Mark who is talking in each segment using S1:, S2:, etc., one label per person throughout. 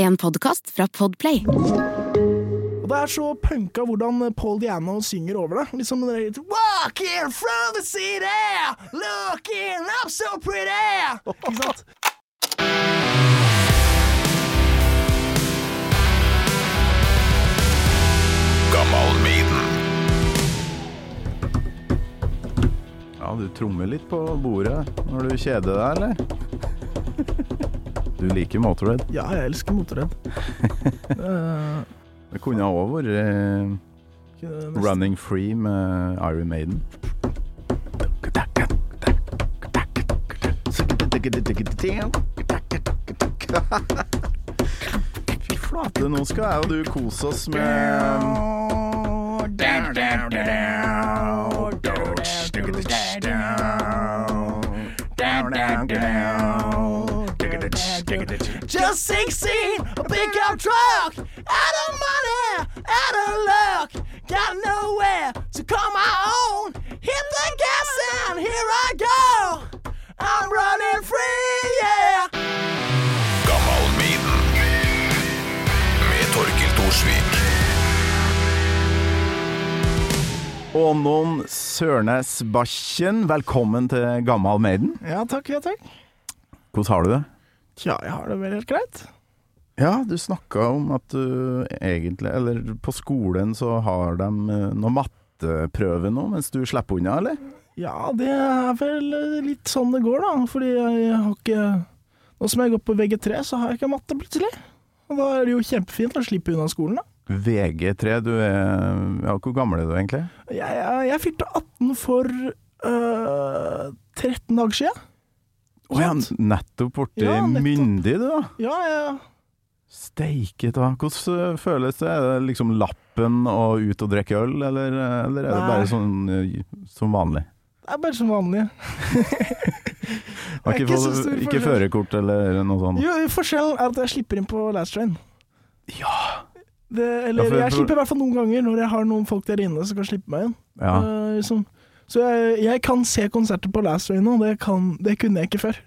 S1: En podkast fra Podplay.
S2: Og det er så punka hvordan Paul Diano synger over det. Liksom den der, Walking from the city, looking up so pretty. Ikke sant?
S3: Ja, du trommer litt på bordet når du kjeder deg, eller? Du liker Motorhead.
S2: Ja, jeg elsker motorhead. Eh,
S3: Det kunne òg vært eh,
S2: ikke det mest-
S3: Running Free med Iron Maiden. Fy flate, nå skal jeg og du kose oss med
S2: Just 16, a pickup truck. Out of money, out of luck. Got nowhere to call my own. Hit the gas and here I go. I'm running free, yeah.
S4: Gammal Miden Med Torkil Torsvik
S3: Ånon Sørnes Bakken. Velkommen til Gammal Maiden.
S2: Ja takk, ja takk.
S3: Hvordan har du det?
S2: Ja, jeg har det vel helt greit.
S3: Ja, du snakka om at du egentlig Eller på skolen så har de eh, noe matteprøve nå, mens du slipper unna, eller?
S2: Ja, det er vel eh, litt sånn det går, da. Fordi jeg har ikke Nå som jeg går på VG3, så har jeg ikke matte plutselig. Og da er det jo kjempefint å slippe unna skolen, da.
S3: VG3, du er Ja, hvor gammel er du egentlig?
S2: Jeg, jeg, jeg fylte 18 for øh, 13 dager siden.
S3: Å ja,
S2: Sant.
S3: nettopp borti
S2: Ja, nettopp.
S3: myndig, du, da.
S2: Ja, ja.
S3: Steike ta. Hvordan eh, føles det? Er det liksom lappen og ut og drikke øl, eller, eh, eller er det
S2: Nei.
S3: bare sånn eh, som vanlig?
S2: Det er bare som vanlig.
S3: Har
S2: Det er
S3: ikke,
S2: ikke så
S3: fått-
S2: stor
S3: ikke
S2: forskjell.
S3: førerkort eller noe sånt?
S2: Jo, Forskjellen er at jeg slipper inn på last train.
S3: Ja!
S2: Det, eller
S3: Ja, for-
S2: jeg
S3: for-
S2: slipper i hvert fall noen ganger når jeg har noen folk der inne som kan slippe meg inn.
S3: ja.
S2: Øh, liksom. Så jeg, jeg kan se konserter på last train nå, det, kan, det kunne jeg ikke før.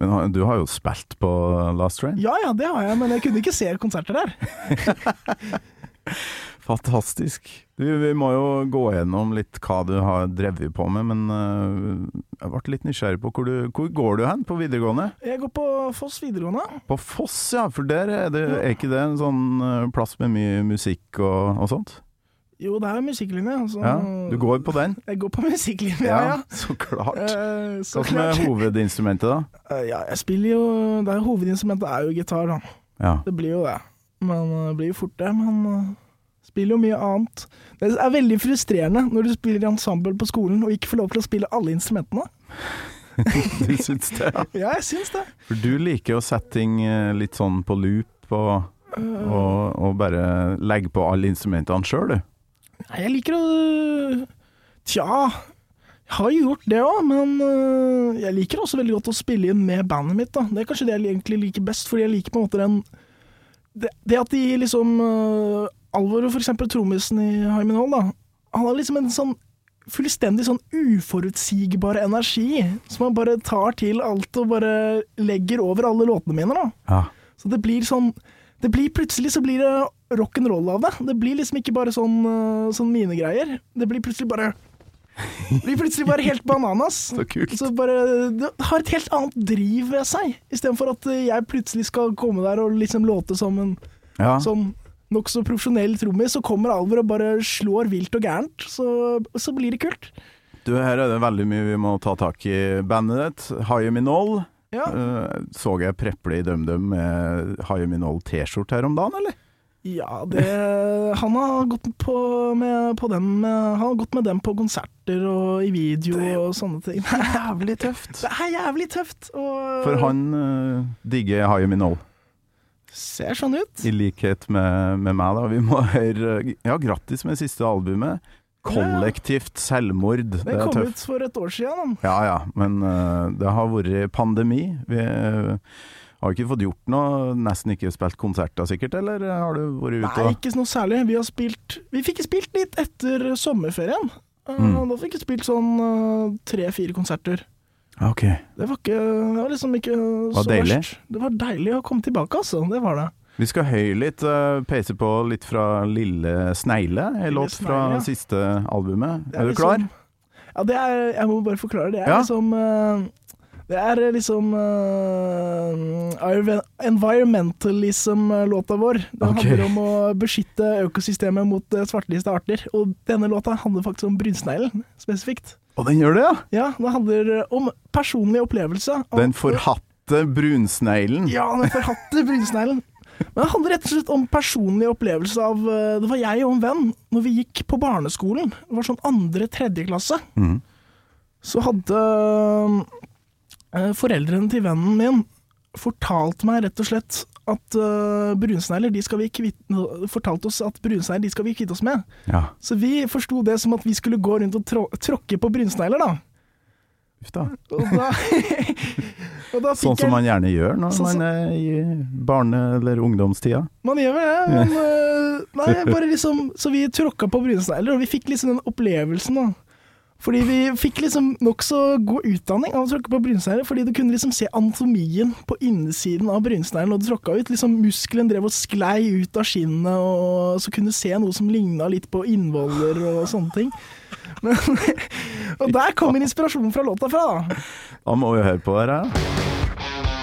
S3: Men har- du har jo spilt på eh, Last Train?
S2: Ja ja, det har jeg, men jeg kunne ikke se konserter der.
S3: Fantastisk. Du, vi må jo gå gjennom litt hva du har drevet på med, men øh, jeg ble litt nysgjerrig på hvor, du, hvor går du hen på videregående?
S2: Jeg går på Foss videregående.
S3: På Foss, ja, for der er, det, er ikke det en sånn øh, plass med mye musikk og, og sånt?
S2: Jo, det er jo musikklinje. Så
S3: Ja, du går på den?
S2: Jeg går på musikklinje, ja. ja.
S3: så klart.
S2: Eh, så
S3: Hva som er
S2: klart.
S3: hovedinstrumentet, da?
S2: Eh, ja, jeg spiller jo det er jo Hovedinstrumentet er jo gitar, da.
S3: Ja.
S2: Det blir jo det. Men eh, det blir jo fort det. Men eh, spiller jo mye annet. Det er veldig frustrerende når du spiller i ensemble på skolen og ikke får lov til å spille alle instrumentene.
S3: Du syns det? Ja.
S2: Ja, jeg syns det.
S3: For du liker å sette ting øh, litt sånn på loop og,
S2: Mm.
S3: og, og bare legge på alle instrumentene sjøl, du?
S2: Nei, jeg liker å Tja. Jeg har jo gjort det òg, men øh, jeg liker også veldig godt å spille inn med bandet mitt. da. Det er kanskje det jeg egentlig liker best, fordi jeg liker på en måte den Det, det at de liksom øh, Alvor og for eksempel trommisen i Hymen Hall, da. Han har liksom en sånn fullstendig sånn uforutsigbar energi, som han bare tar til alt og bare legger over alle låtene mine, da.
S3: Ja.
S2: Så det blir sånn det blir Plutselig så blir det rock'n'roll av det. Det blir liksom ikke bare sånn, øh, sånn mine greier. Det blir plutselig bare det blir plutselig bare helt bananas.
S3: Så kult.
S2: Så bare, det har et helt annet driv ved seg, istedenfor at øh, jeg plutselig skal komme der og liksom låte som en
S3: Ja.
S2: sånn nokså profesjonell trommis, så kommer Alvor og bare slår vilt og gærent. Så, så blir det kult.
S3: Du, her er det veldig mye vi må ta tak i. Bandet ditt, Haie Minol.
S2: Ja.
S3: Eh, så jeg preple i DumDum med Haie Minol T-skjorte her om dagen, eller?
S2: Ja, det Han har gått på med, på dem, med- han har gått med dem på konserter og i video og sånne ting.
S3: Jævlig tøft.
S2: Det er jævlig tøft. Og
S3: For han eh, digger Haie Minol,
S2: ser sånn ut.
S3: i likhet med, med meg, da. Vi må høre Ja, grattis med siste albumet. Kollektivt selvmord. Det
S2: Den
S3: er
S2: kom
S3: tøft.
S2: ut for et år siden.
S3: Ja ja, men eh, det har vært pandemi. Vi eh, har ikke fått gjort noe. Nesten ikke spilt konserter, sikkert, eller eh, har du vært
S2: Da.
S3: ute
S2: Nei,
S3: og
S2: ikke noe særlig. Vi har spilt Vi fikk spilt litt etter sommerferien. Eh,
S3: Mm.
S2: Da fikk vi spilt sånn eh, tre-fire konserter.
S3: Ok.
S2: Det var ikke Det var liksom ikke
S3: Var
S2: så
S3: deilig?
S2: verst. Det var deilig å komme tilbake, altså. Det var det.
S3: Vi skal høye litt, eh, peise på litt fra Lille Snegle, en
S2: Lille
S3: låt fra
S2: Snegle, ja.
S3: siste albumet.
S2: Det
S3: Er, du klar?
S2: liksom- Ja, det er Jeg må bare forklare. Det er
S3: Ja.
S2: liksom eh, Det er liksom eh, envi- environmentalism-låta vår. Den
S3: Ok.
S2: handler om å beskytte økosystemet mot eh, svarteliste arter. Og denne låta handler faktisk om brunsneglen spesifikt.
S3: Og den gjør det, ja!
S2: Ja, den handler om personlig opplevelse. av-
S3: Den forhatte brunsneglen.
S2: Ja, den forhatte brunsneglen. Men det handler rett og slett om personlig opplevelse av eh, Det var jeg og en venn når vi gikk på barneskolen. Det var sånn andre-tredje klasse.
S3: Mhm.
S2: Så hadde um, eh, foreldrene til vennen min fortalt meg rett og slett at eh, brunsnegler de skal vi kvitte, fortalte oss at brunsnegler de skal vi kvitte oss med.
S3: Ja.
S2: Så vi forsto det som at vi skulle gå rundt og trå tråkke på brunsnegler, da.
S3: Uff da.
S2: Og da, og da fikk
S3: Sånn som
S2: jeg
S3: man gjerne gjør når
S2: Sånn som-
S3: man er i barne- eller ungdomstida.
S2: Man gjør vel det, men øh, Nei, bare liksom Så vi tråkka på brunsnegler, og vi fikk liksom den opplevelsen, da. Fordi vi fikk liksom nokså god utdanning av å tråkke på brunsnegler, fordi du kunne liksom se anatomien på innsiden av brunsneglen når du tråkka ut. Liksom Muskelen drev og sklei ut av skinnet, og så kunne du se noe som ligna litt på innvoller og sånne ting. Men, og der kommer inspirasjonen fra låta fra, da.
S3: Da må vi høre på det her.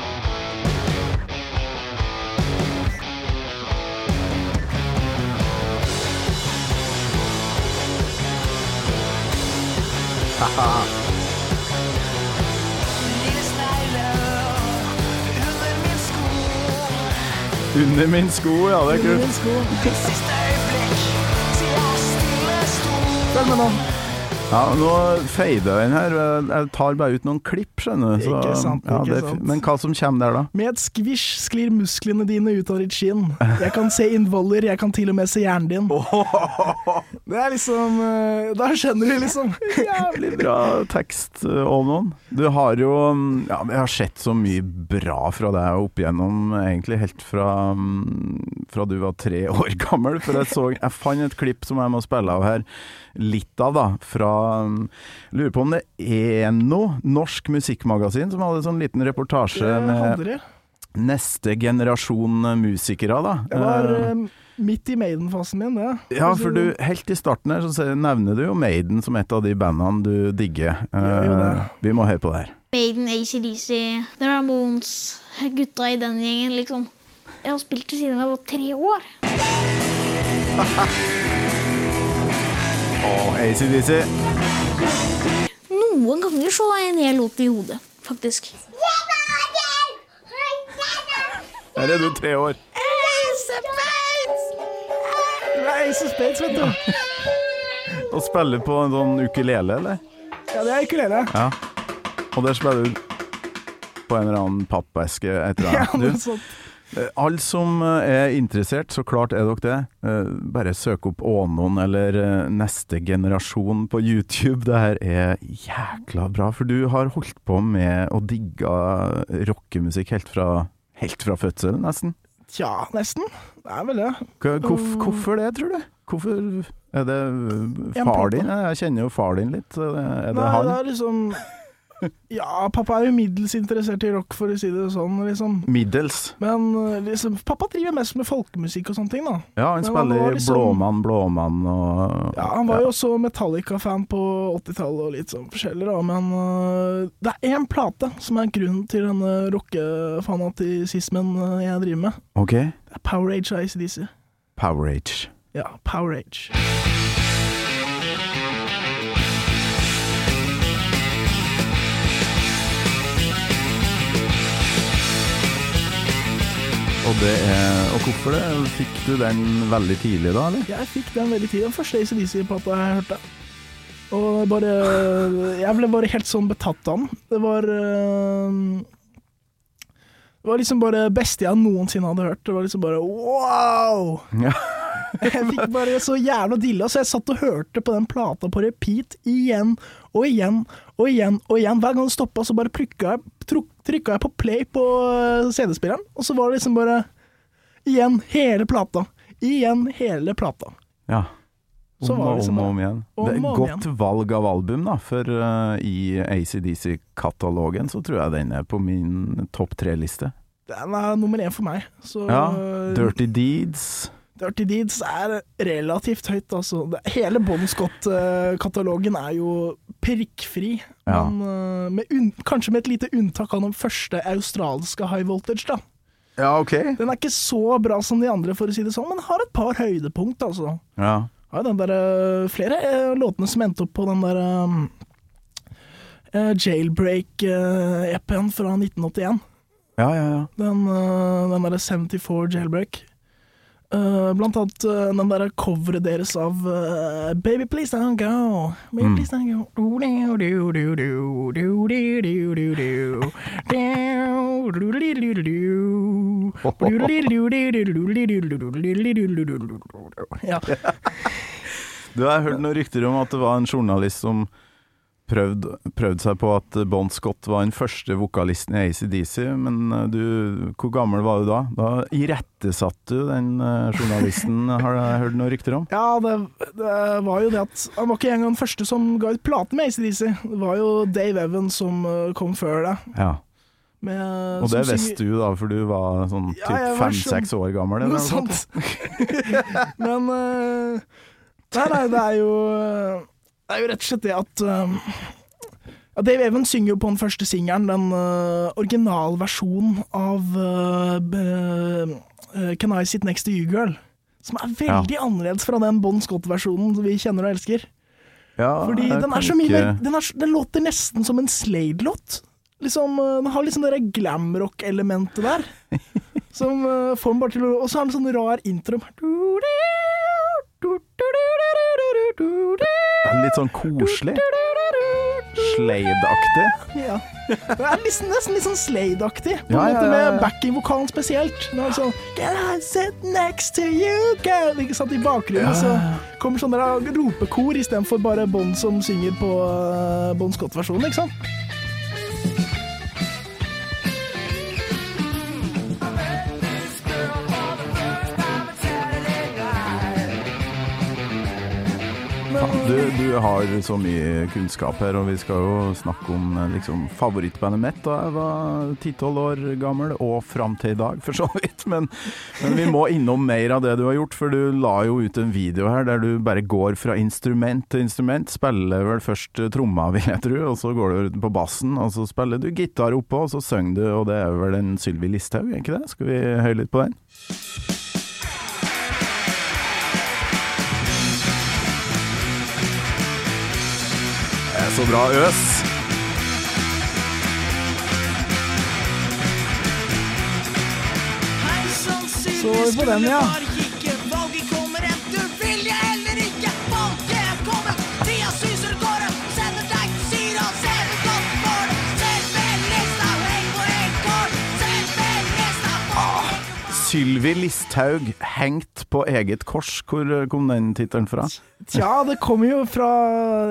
S3: Under min sko, ja. Det er kult.
S2: Følg med nå.
S3: Ja, Nå fader jeg inn her. Jeg tar bare ut noen klipp, skjønner du.
S2: Ikke sant,
S3: ja,
S2: ikke
S3: det er
S2: sant.
S3: fi- Men hva som kommer der, da?
S2: Med et skvisj sklir musklene dine ut av ditt skinn. Jeg kan se innvoller, jeg kan til og med se hjernen din. Det er liksom eh, Da skjønner du, liksom.
S3: Jævlig bra tekst, eh, Olmon. Du har jo mm, Ja, men jeg har sett så mye bra fra deg opp igjennom, egentlig helt fra, mm, fra du var tre år gammel. For jeg så Jeg fant et klipp som jeg må spille av her. Litt av, da. Fra mm, Lurer på om det er noe norsk musikkmagasin som hadde en sånn liten
S2: Det
S3: reportasje med
S2: handler det.
S3: neste generasjon musikere, da.
S2: Jeg var
S3: Eh,
S2: eh, midt i Maiden-fasen min, det.
S3: ja, for du, helt i starten her så sier- nevner du jo Maiden som et av de bandene du digger.
S2: Gjør jo det.
S3: Eh, vi må høre på det her.
S5: Maiden, ACDC, The Ramones, gutta i den gjengen, liksom. Jeg har spilt det siden jeg var tre år.
S3: Og ACDC.
S5: Noen ganger så har jeg en hel låt i hodet, faktisk.
S3: Her er du tre år.
S2: Det er Ace of Spades, vet du.
S3: Og spiller på en sånn ukulele, eller?
S2: Ja, det er ukulele.
S3: Ja. Og der spiller du på en eller annen pappeske, et eller
S2: Ja, noe
S3: annet.
S2: sånt.
S3: Du, eh, alle som eh, er interessert, så klart er dere det. Eh, Bare søk opp Ånon eller eh, Neste generasjon på YouTube. Det her er jækla bra, for du har holdt på med å digga rockemusikk helt fra, helt fra fødselen, nesten.
S2: Tja, nesten. Det er vel det.
S3: Hva- Hvorf,
S2: Mm.
S3: hvorfor det, tror du? Hvorfor er det eh,
S2: En
S3: far
S2: plate.
S3: din? Jeg kjenner jo far din litt. Er det
S2: Nei,
S3: han?
S2: det er liksom Ja, pappa er jo middels interessert i rock, for å si det sånn, liksom.
S3: Middels.
S2: Men eh, liksom, pappa driver mest med folkemusikk og sånne ting, da.
S3: Ja,
S2: Men
S3: han
S2: han var
S3: spiller
S2: liksom-
S3: Blåmann, Blåmann og
S2: Ja, han var jo også Metallica-fan på 80-tallet og litt sånn forskjellig, da, men øh, det er én plate som er grunnen til denne rockefanatisismen øh, jeg driver med.
S3: Ok.
S2: Det er Power Age av ACDC.
S3: Power Age.
S2: Ja, Power Age.
S3: Og, det er, og hvorfor det? Fikk du den veldig tidlig, da? eller?
S2: Jeg fikk den veldig tidlig, den første ACDC-plata jeg hørte. Og det bare Jeg ble bare helt sånn betatt av den. Det var øh, Det var liksom bare det beste jeg noensinne hadde hørt. Det var liksom bare wow!
S3: Ja.
S2: Jeg fikk bare så jævla dilla, så jeg satt og hørte på den plata på repeat igjen og igjen og igjen. og igjen. Hver gang det stoppa, så bare plukka jeg, truk- trykka jeg på play på eh, CD-spilleren, og så var det liksom bare Igjen hele plata. Igjen hele plata.
S3: ja.
S2: Så
S3: Om
S2: var det
S3: og
S2: liksom
S3: om og om igjen.
S2: om
S3: det er
S2: og om
S3: godt valg av album, da. For eh, i ACDC-katalogen så tror jeg den er på min topp tre-liste.
S2: Den er nummer én for meg. Så
S3: Ja.
S2: eh,
S3: Dirty Deeds.
S2: Dirty Deeds er relativt høyt, altså. Det, hele Bon Scott-katalogen eh, er jo prikkfri.
S3: Ja.
S2: Men, eh, med unn- kanskje med et lite unntak av den første australske High Voltage, da.
S3: Ja, OK.
S2: Den er ikke så bra som de andre, for å si det sånn, men har et par høydepunkt, altså.
S3: Ja.
S2: Har jo den der, eh, flere eh, låtene som endte opp på den der eh, Jailbreak-EP-en eh, E fra 1981.
S3: Ja, ja, ja.
S2: Den, eh, den derre 74 Jailbreak. Eh, blant annet eh, den derre coveret deres av eh, Baby Please Don't Go. Baby
S3: Mm.
S2: Please Don't Go. Do, do, do, do, do, do, do, do, do, do. Do, do, do, do, do, do. Do, do, do, do, do, do, do, do, do, do, do, do, do, do. Ja.
S3: Du har hørt noen rykter om at det var en journalist som prøvde, prøvde seg på at Bon Scott var den første vokalisten i ACDC, men eh, du, hvor gammel var du da? Da irettesatte du den eh, journalisten, har jeg hørt noen rykter om?
S2: ja, det, det var jo det at Han var ikke engang den første som ga ut plate med ACDC. Det var jo Dave Evans som eh, kom før det.
S3: Ja.
S2: Med,
S3: Og
S2: som
S3: det
S2: synger-
S3: visste du da, for du var sånn
S2: Ja, jeg
S3: typ
S2: var sånn
S3: fem-seks år gammel?
S2: Noe
S3: eller noe sånt.
S2: sånt. Men eh, Nei, nei, det er jo eh, Det er jo rett og slett det at eh, ja, Dave Even synger jo på den første singelen, den eh, originalversjonen av eh, b- eh, Can I Sit Next To You Girl? Som er veldig annerledes fra den Bon Scott-versjonen som vi kjenner og elsker.
S3: Ja,
S2: Fordi
S3: jeg
S2: den
S3: kan
S2: er så mye
S3: ikke-
S2: mer Den, er, så- den låter nesten som en Slade-låt. Liksom, eh, den har liksom det der glamrock-elementet der. Som eh, får den bare til å Og så har den sånn rar intro.
S3: Litt sånn koselig. Slade-aktig.
S2: Ja. Det er liksom, nesten litt sånn Slade-aktig. På en
S3: Ja, ja,
S2: måte
S3: ja, ja.
S2: med backing-vokalen spesielt. Det er sånn Can I sit next to you, girl? Ikke sant? I bakgrunnen så kommer sånn der ropekor istedenfor bare Bond som synger på eh, Bon Scott-versjonen, ikke sant?
S3: Du, du har så mye kunnskap her, og vi skal jo snakke om eh, liksom, favorittbandet mitt da jeg var 10-12 år gammel, og fram til i dag, for så vidt. Men, men vi må innom mer av det du har gjort, for du la jo ut en video her der du bare går fra instrument til instrument. Spiller vel først eh, tromma, vil jeg tro, og så går du på bassen, og så spiller du gitar oppå, og så synger du, og det er vel en Sylvi Listhaug, er ikke det? Skal vi høre litt på den? Det er så bra øs!
S2: Så på den, ja.
S3: Sylvi Listhaug hengt på eget kors. Hvor eh, kom den tittelen fra?
S2: Tja, det kommer jo fra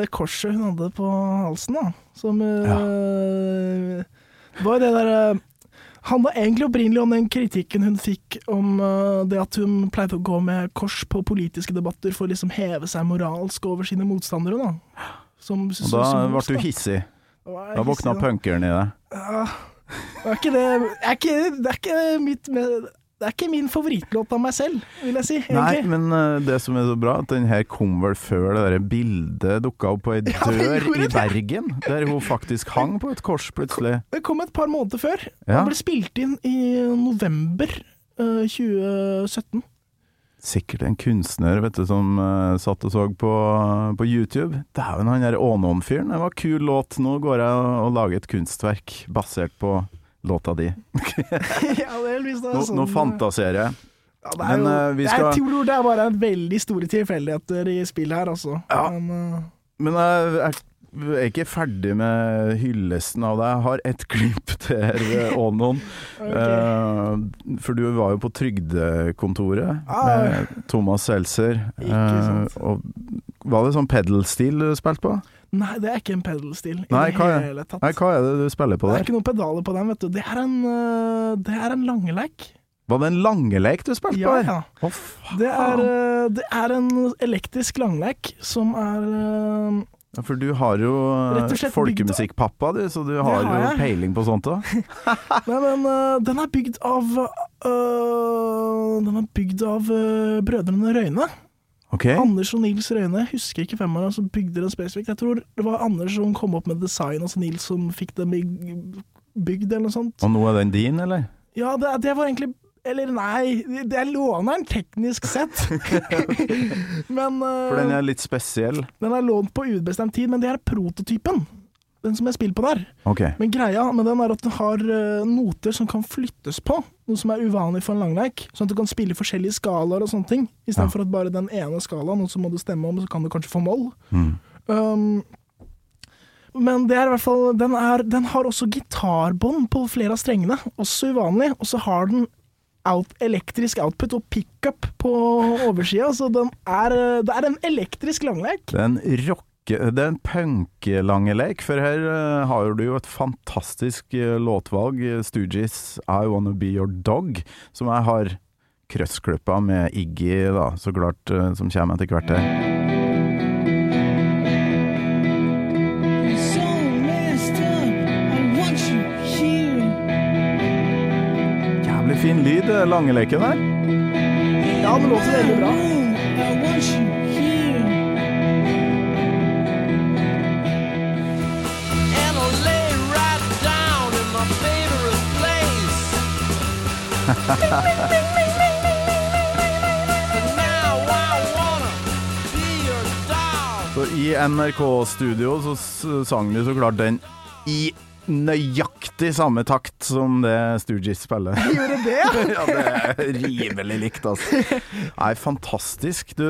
S2: det korset hun hadde på halsen, da. Som øh, var det derre handla egentlig opprinnelig om den kritikken hun fikk om øh, det at hun pleide å gå med kors på politiske debatter for å liksom heve seg moralsk over sine motstandere, da. Som,
S3: Og da
S2: som-
S3: ble du hissig.
S2: var jeg
S3: Da våkna
S2: hissig, da.
S3: punkeren i deg.
S2: Det er ikke det er ikke, Det er ikke mitt Det er ikke min favorittlåt av meg selv, vil jeg si.
S3: Nei,
S2: egentlig.
S3: men eh, det som er så bra, at den her kom vel før det der bildet dukka opp på ei
S2: Ja, den
S3: dør
S2: gjorde
S3: i
S2: det.
S3: Bergen, der hun faktisk hang på et kors plutselig.
S2: Det kom et par måneder før.
S3: Ja.
S2: Den ble spilt inn i november eh, 2017.
S3: Sikkert en kunstner vet du, som eh, satt og så på, på YouTube. Dæven, han der Ånån-fyren. Det var kul låt. Nå går jeg og, og lager et kunstverk basert på låta di.
S2: ja, det er heldigvis det er sånn, eh,
S3: Nå, nå fantaserer jeg.
S2: ja, det er
S3: men,
S2: jo,
S3: eh, vi skal-
S2: Jeg tror det er bare veldig store tilfeldigheter i spillet her, altså.
S3: Ja.
S2: Men, eh,
S3: Men jeg er- jeg er ikke ferdig med hyllesten av deg. Jeg har ett klipp til her, Ånon. Eh, for du var jo på trygdekontoret
S2: Ah.
S3: med Thomas Seltzer.
S2: Ikke sant.
S3: Eh, og var det sånn pedal-stil du spilte på?
S2: nei, det er ikke en pedalstil i
S3: Nei,
S2: det
S3: hva er-
S2: hele tatt.
S3: Nei, hva er det du spiller på
S2: det
S3: der?
S2: er ikke noen pedaler på den, vet du. Det er en, uh, det er en langeleik.
S3: Var det en langeleik du spilte
S2: Ja,
S3: på?
S2: ja.
S3: der? Å, faen.
S2: Det er, eh, det er en elektrisk langleik som er eh,
S3: Ja, for du har jo eh,
S2: Rett og slett
S3: folkemusikkpappa, du, så du
S2: har
S3: har jo
S2: jeg.
S3: peiling på sånt òg.
S2: Nei, men øh, den er bygd av øh, Den er bygd av øh, brødrene Røyne.
S3: Ok,
S2: Anders og Nils Røyne, jeg husker ikke hvem av dem som bygde den spesifikt. Jeg tror det var Anders som kom opp med design, og så Nils som fikk den byg- bygd, eller noe sånt.
S3: Og nå er den din, eller?
S2: Ja, det, det var egentlig Eller nei, det jeg låner den teknisk sett. men øh,
S3: For den er litt spesiell.
S2: den er lånt på ubestemt tid, men det er prototypen. Den som jeg spiller på der.
S3: Ok.
S2: Men greia med den er at den har eh, noter som kan flyttes på, noe som er uvanlig for en langleik. Sånn at du kan spille forskjellige skalaer og sånne ting,
S3: Ja.
S2: istedenfor at bare den ene skalaen, og så må du stemme om, så kan du kanskje få moll.
S3: Mm.
S2: Um, men det er i hvert fall Den, er, den har også gitarbånd på flere av strengene, også uvanlig. Og så har den out, elektrisk output og pickup på oversida, så den er, eh, det er en elektrisk langleik.
S3: Det er en rocke... Det er en punkelange lek, for her eh, har du jo et fantastisk eh, låtvalg. Stooges' I Wanna Be Your Dog, som jeg har krøssklippa med Iggy, da, så klart, eh, som kommer etter hvert her.
S6: So messed up. I want you here.
S3: Jævlig fin lyd, eh, langeleken der.
S2: Ja, den låter veldig bra.
S6: I want you here.
S7: and I lay right down in my favorite place. and now I wanna be your dog.
S3: Så i NRK-studio så s- sang du så klart den i nøyaktig samme takt som det Stooges spiller. Gjorde det? ja, det er rimelig likt, altså. Nei, fantastisk. Du,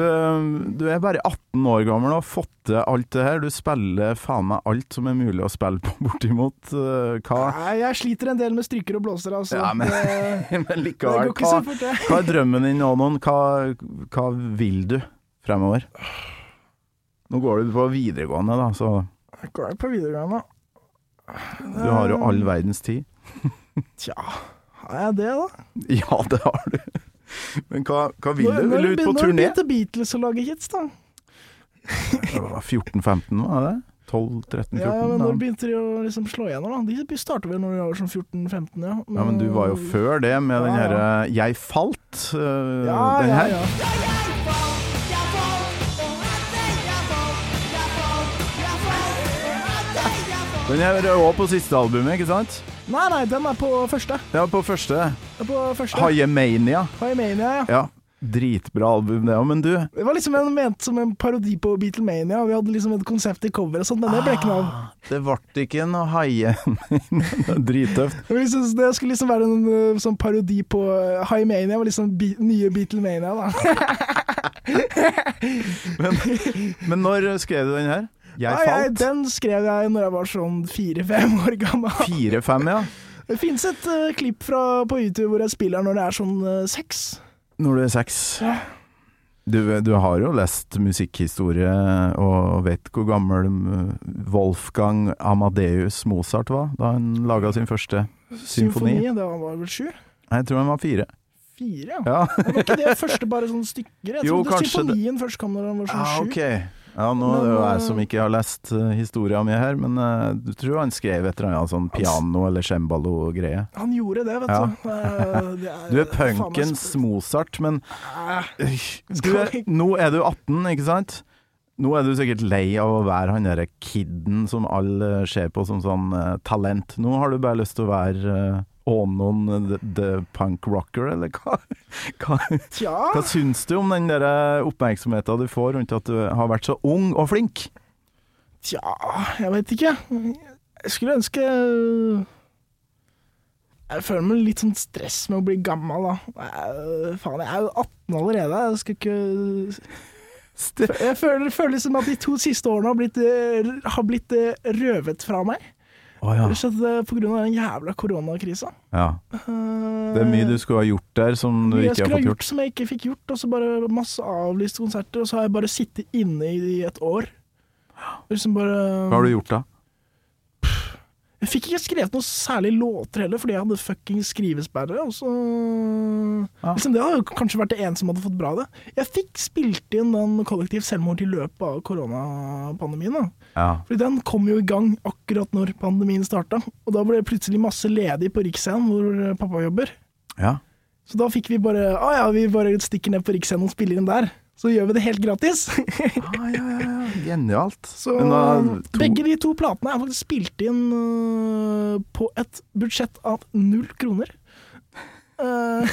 S3: du er bare 18 år gammel og har fått til alt det her. Du spiller faen meg alt som er mulig å spille på, bortimot. Eh, Hva?
S2: Nei, jeg sliter en del med stryker og blåser, altså.
S3: Ja, men,
S2: Det-
S3: men
S2: det går
S3: likevel.
S2: ikke så
S3: Hva,
S2: fort, det.
S3: hva er drømmen din, Anon? Hva, hva vil du fremover? Nå går du på videregående, da, så
S2: Jeg går på videregående.
S3: Du har jo all verdens tid.
S2: Ah. Tja, har jeg det, da?
S3: Ja, det har du. Men hva, hva vil
S2: Når-
S3: du?
S2: når
S3: Vil du ut på
S2: begynner-
S3: turné?
S2: Når begynte Beatles å lage hits, da?
S3: Det var 14-15, var det? 12-13-14?
S2: Ja, men Når begynte de å liksom slå igjennom? da? De starta vel når de var sånn 14-15, ja.
S3: Ja, men du var jo før det med den
S2: Mm. Ja, ja.
S3: herre 'Jeg falt'. øh,
S2: Ja,
S3: den
S2: ja,
S3: her.
S2: ja.
S3: Den her er òg på siste albumet, ikke sant?
S2: Nei, nei, den er på første.
S3: Ja, på første.
S2: Den er På første.
S3: 'Hayemania'.
S2: Haiemania, ja.
S3: Ja, dritbra album det òg, men du
S2: Det var liksom en, ment som en parodi på Beatlemania. Vi hadde liksom et konsept i cover og sånt, men det ble ikke noe av.
S3: Det ble ikke noe Hayemania. Drittøft.
S2: Jeg synes Det skulle liksom være en eh, sånn parodi på eh, Haiemania, var liksom Be nye Beatlemania, da.
S3: Men når skrev du den her? 'Jeg
S2: Nei, jeg-
S3: falt'?
S2: den skrev jeg når jeg var sånn fire-fem år gammel.
S3: Fire-fem, ja.
S2: Det fins et eh, klipp fra, på YouTube hvor jeg spiller når det er sånn eh, seks.
S3: Når du er seks.
S2: Ja.
S3: Du, du har jo lest musikkhistorie og vet hvor gammel mm, Wolfgang Amadeus Mozart var da han laga sin første symfoni.
S2: Det var vel sju?
S3: Jeg tror han var fire.
S2: Fire, ja.
S3: Ja,
S2: Men Var ikke det første bare sånne stykker? Jeg
S3: Jo,
S2: trodde
S3: kanskje det-
S2: symfonien først kom når den var sånn
S3: ah,
S2: sju.
S3: ok. Ja, nå er det jo jeg som ikke har lest uh, historia mi her, men eh, du tror han skrev et eller annet sånn piano- eller cembalo-greie.
S2: Han gjorde det, vet
S3: Ja.
S2: du. Eh, det er-
S3: Du er
S2: faen meg
S3: punkens
S2: sp-
S3: Mozart, men
S2: Eh,
S3: du er, nå er du 18, ikke sant? Nå er du sikkert lei av å være han derre kidden som alle ser på som sånn eh, talent. Nå har du bare lyst til å være eh, Ånon the, the punk rocker, eller hva? Hva,
S2: Tja,
S3: hva syns du om den der oppmerksomheten du får rundt at du har vært så ung og flink?
S2: tja, jeg vet ikke. Jeg skulle ønske eh, Jeg føler meg litt sånn stress med å bli gammel, da. Eh, faen, jeg er jo 18 allerede. Jeg skal ikke Jeg føler, føler liksom at de to siste årene har blitt, eh, har blitt eh, røvet fra meg.
S3: Å ja.
S2: Rett og slett, eh, På grunn av den jævla koronakrisa.
S3: ja. Det er mye du skulle ha gjort der som du
S2: jeg
S3: ikke har
S2: skulle ha
S3: fått
S2: gjort
S3: gjort.
S2: som jeg ikke fikk gjort, og så bare masse avlyste konserter. Og så har jeg bare sittet inne i et år. Liksom bare
S3: Hva har du gjort da?
S2: Jeg fikk ikke skrevet noe særlig låter heller, fordi jeg hadde fucking skrivesperre. Og så
S3: Ja.
S2: Liksom, det hadde jo kanskje vært det eneste som hadde fått bra av det. Jeg fikk spilt inn den kollektiv selvmord i løpet av koronapandemien. da.
S3: Ja.
S2: Fordi den kom jo i gang akkurat når pandemien starta. Og da ble det plutselig masse ledig på Riksscenen, hvor eh, pappa jobber.
S3: ja.
S2: Så da fikk vi bare Å ja, vi bare stikker ned på Riksscenen og spiller inn der. Så gjør vi det helt gratis.
S3: Ah, ja, ja, ja. Genialt.
S2: Så
S3: Men da, to,
S2: begge de to platene er faktisk spilt inn øh, på et budsjett av null kroner. Eh,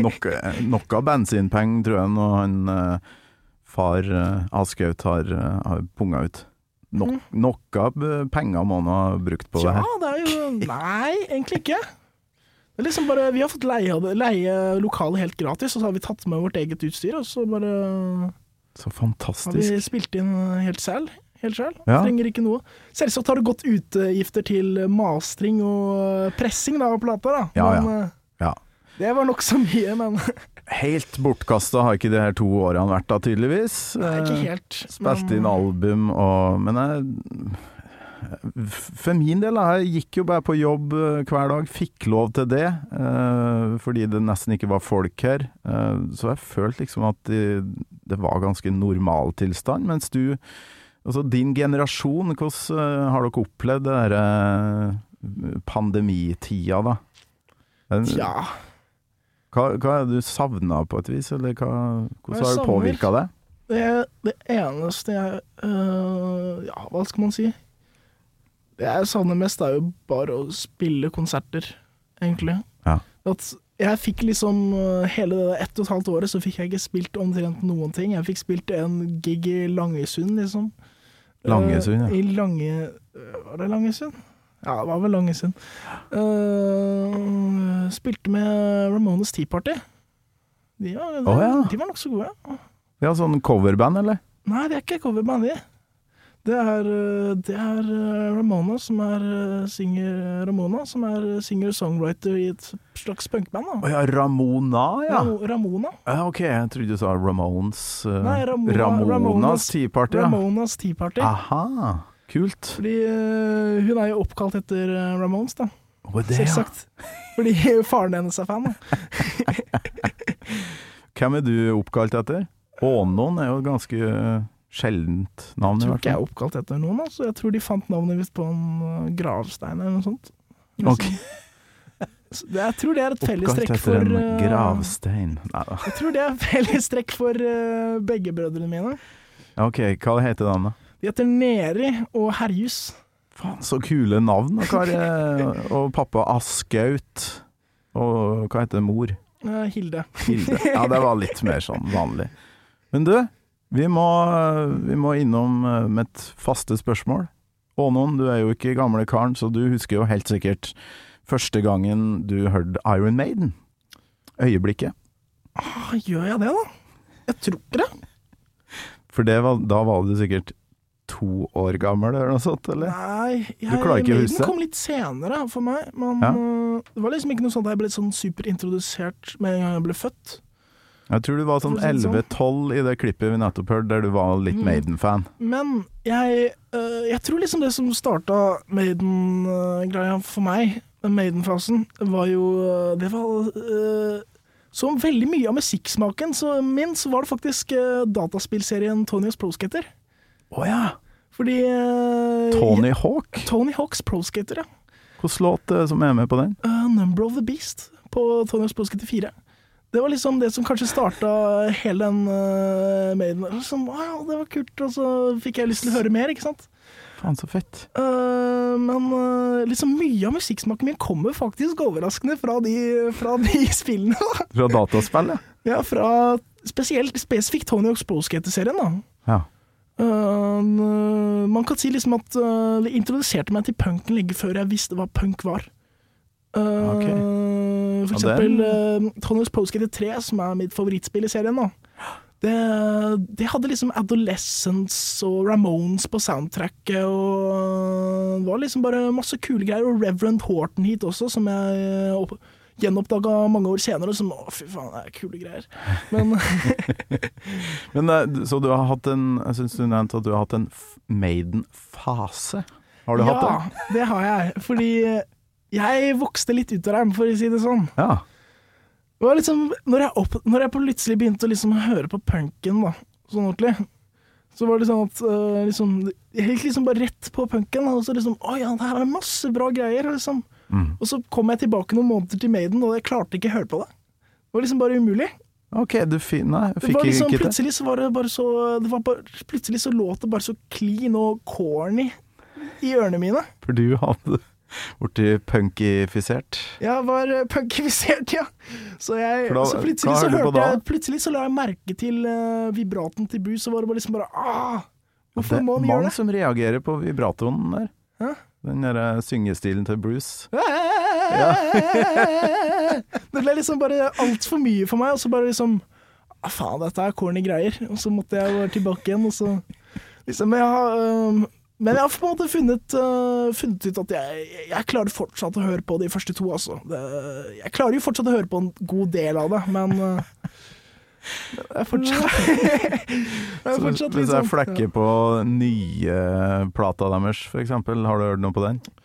S3: nok, nok av bensinpenger, tror jeg, når han eh, far uh, Aschehoug tar eh, har punga ut.
S2: Mhm.
S3: Nok, nok av eh, penger må han ha brukt på
S2: Tja,
S3: det her.
S2: det er jo Nei, egentlig ikke. Det er liksom bare, vi har fått leie, av det- leie lokalet helt gratis, og så har vi tatt med vårt eget utstyr. Og så bare
S3: Så
S2: har vi
S3: fantastisk.
S2: spilt inn helt selv. Helt selv.
S3: Ja.
S2: Trenger ikke noe. Selvsagt har det gått utegifter til mastring og pressing da, av plata, da.
S3: Ja, ja.
S2: Men, eh,
S3: Ja.
S2: Det var nokså mye, men
S3: Helt bortkasta har ikke de her to årene vært da, tydeligvis.
S2: Nei, ikke
S3: Eh,
S2: helt.
S3: Spilte inn album og Men jeg for min del, da, jeg gikk jo bare på jobb eh, hver dag, fikk lov til det, eh, fordi det nesten ikke var folk her. Eh, så jeg følte liksom at det, det var ganske normal tilstand. Mens du, altså din generasjon, hvordan eh, har dere opplevd det derre pandemitida, da? Den-
S2: Ja,
S3: Hva, hva er det du savna på et vis, eller
S2: Hva
S3: hva,
S2: jeg
S3: hvordan har
S2: savner?
S3: det påvirka deg?
S2: det, det eneste jeg øh, Ja, hva skal man si? Det jeg savner mest, er jo bare å spille konserter, egentlig.
S3: Ja.
S2: At jeg fikk liksom øh, Hele det der ett og et halvt året så fikk jeg ikke spilt omtrent noen ting. Jeg fikk spilt en gig i Langesund, liksom.
S3: Langesund, ja.
S2: Eh, I Lange... øh, Var det Langesund? Ja, det var vel Langesund. Eh, spilte med Ramones Tea Party. De var, de,
S3: Å, ja.
S2: de var nokså gode.
S3: Ja, sånn coverband, eller?
S2: Nei, det er ikke coverband, det. Det er, øh, det er øh, Ramona som er øh, singer Ramona, som er øh, singer-songwriter i et slags punkband.
S3: Å
S2: da.
S3: ja, Ramona, ja.
S2: Ramo- Ramona.
S3: Ja, ok, jeg trodde du sa Ramones eh,
S2: Nei, Ramona-
S3: Ramonas
S2: Ramonas-
S3: Tea Party. Ja. Ah.
S2: Ramonas Tea Party.
S3: Aha, kult.
S2: Fordi øh, hun er jo oppkalt etter øh, Ramones, da.
S3: Å, det, ja.
S2: Selvsagt. Fordi faren hennes er fan, da.
S3: Hvem er du oppkalt etter? Ånon er jo et ganske eh, sjeldent navn, i
S2: Tror
S3: hvert
S2: ikke jeg er
S3: fall.
S2: oppkalt etter noen, altså. Jeg tror de fant navnet visst på en øh, gravstein eller noe sånt.
S3: Ok.
S2: Så det- Jeg tror det er et
S3: Oppkalt
S2: fellestrekk for
S3: etter en
S2: øh,
S3: gravstein. Nei da.
S2: Jeg tror det er fellestrekk for øh, begge brødrene mine.
S3: Ok, hva heter den, da?
S2: De heter Neri og Herjus.
S3: Faen, så kule navn. Og, hva er, det- og pappa Askaut. Og hva heter mor?
S2: Eh, Hilde.
S3: Hilde. Ja, det var litt mer sånn vanlig. Men du, vi må, vi må innom eh, med et faste spørsmål. Ånon, du er jo ikke gamle karen, så du husker jo helt sikkert første gangen du hørte Iron Maiden. Øyeblikket.
S2: Ah, gjør jeg det, da? Jeg tror ikke det.
S3: For det var, da var du sikkert to år gammel eller noe sånt, eller?
S2: Nei, jeg,
S3: klarer ikke å
S2: Maiden
S3: huske det?
S2: kom litt senere for meg. Men
S3: Ja.
S2: eh, det var liksom ikke noe sånt at jeg ble sånn superintrodusert med en gang jeg ble født.
S3: Jeg tror du var sånn Mm.
S2: For å si det sånn.
S3: 11-12 i det klippet vi nettopp hørte, der du var litt Maiden-fan.
S2: Men jeg, eh, jeg tror liksom det som starta Maiden-greia for meg, den Maiden-fasen, var jo eh, Det var eh, Som veldig mye av musikksmaken så min, så var det faktisk eh, dataspillserien Tonys Pro Skater.
S3: Å ja!
S2: Fordi eh,
S3: Tony Hawk.
S2: Tony Hawks Pro Skater, ja.
S3: Hvilken låt eh, som er med på den?
S2: Uh, Number of the Beast på Tony Hawk's Pro Skater 4. Det var liksom det som kanskje starta hele den uh, Maiden. Og Sånn, wow, det var kult, og så fikk jeg lyst til å høre mer, ikke sant.
S3: Faen, så fett.
S2: Uh, men uh, liksom mye av musikksmaken min kommer faktisk overraskende fra de, fra de spillene. da.
S3: Fra dataspill, ja.
S2: ja, fra spesielt spesifikt Tony Hawk's Pro Skater-serien, da.
S3: ja.
S2: Uh, n- man kan si liksom at uh, det introduserte meg til punken lenge før jeg visste hva punk var. Uh, For
S3: Ok. Ja, det er-
S2: eksempel uh, Tony's Postgate 3, som er mitt favorittspill i serien. Da. Det, det hadde liksom Adolescence og Ramones på soundtracket, og uh, det var liksom bare masse kule greier. Og Reverend Horton hit også, som jeg uh, opp- gjenoppdaga mange år senere, som å, fy faen, det er kule greier. Men
S3: Men eh, Så du har hatt en Jeg syns du nevnte at du har hatt en f- Maiden-fase. Har du
S2: ja,
S3: hatt det?
S2: det? eh, har jeg. Fordi jeg vokste litt ut av dem, for å si det sånn.
S3: Ja.
S2: Det var liksom, når jeg, opp, når jeg plutselig begynte å liksom høre på punken, da, sånn ordentlig, så var det sånn at eh, liksom, Jeg gikk liksom bare rett på punken, da, og så liksom Å ja, det her er masse bra greier, liksom.
S3: Mm.
S2: Og så kom jeg tilbake noen måneder til Maiden, og jeg klarte ikke å høre på det. Det var liksom bare umulig.
S3: Ok, du fin... Nei, jeg
S2: Det
S3: fikk
S2: var liksom,
S3: ikke det.
S2: plutselig så var det bare så det var bare, Plutselig så låt det bare så clean og corny i ørene mine.
S3: For du hadde borti punkifisert.
S2: Jeg var eh, punkifisert, ja. Så, jeg,
S3: For da-
S2: så
S3: hva
S2: plutselig så
S3: hører du på
S2: hørte jeg
S3: da?
S2: Plutselig så la jeg merke til eh, vibraten til Bruce, og var det bare liksom bare ah, Hvorfor
S3: Det er
S2: må han
S3: mange
S2: gjøre det?
S3: som reagerer på vibratonen der.
S2: Hæ?
S3: Den derre syngestilen til Bruce.
S2: Det ble liksom bare altfor mye for meg, og så bare liksom ah, Faen, dette er corny greier. Og så måtte jeg bare tilbake igjen, og så liksom jeg har, øhm, Men jeg har på en måte funnet, øh, funnet ut at jeg, jeg klarer fortsatt å høre på de første to, altså. Det, jeg klarer jo fortsatt å høre på en god del av det, men øh, det er fortsatt, det er
S3: Så hvis,
S2: fortsatt litt
S3: hvis jeg
S2: sånn-
S3: flekker på nye eh, plata deres, for eksempel, har du hørt noe på den?
S2: Ja,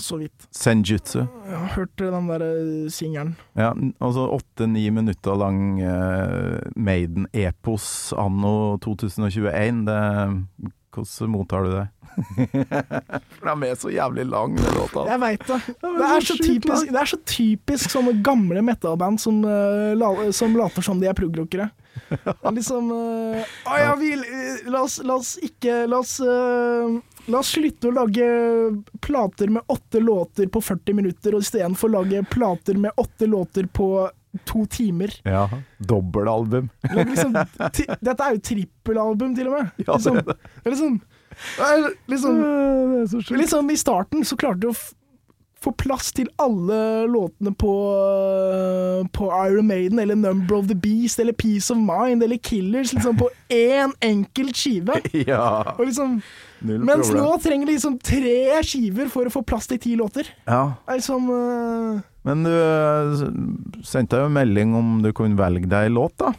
S2: Så vidt.
S3: Senjutsu.
S2: Jeg har hørt den der øh, singelen.
S3: Ja, n- altså åtte-ni minutter lang eh, Maiden-epos anno 2021. Det, hvordan mottar du det? For de er så jævlig lang, den låta.
S2: Jeg veit det. Det er, så typisk, det er så typisk sånne gamle metal-band som, eh, la- som later som de er prog-rockere. Liksom eh, Å ja, vi eh, La oss, la oss ikke La oss eh, La oss slutte å lage plater med åtte låter på 40 minutter, og istedenfor lage plater med åtte låter på to timer.
S3: Ja, Dobbeltalbum.
S2: Lag Liksom, ti, dette er jo trippelalbum, til og med.
S3: Ja, det er
S2: Liksom,
S3: det.
S2: det er liksom, det er liksom men Liksom I starten så klarte du å f- få plass til alle låtene på, på Iron Maiden, eller Number of the Beast, eller Peace of Mind, eller Killers, liksom på én enkelt skive.
S3: Ja,
S2: Og liksom,
S3: null
S2: mens nå
S3: problem.
S2: trenger de liksom tre skiver for å få plass til ti låter.
S3: Ja.
S2: Det er liksom øh,
S3: Men du eh, sendte jo en melding om du kunne velge deg en låt, da.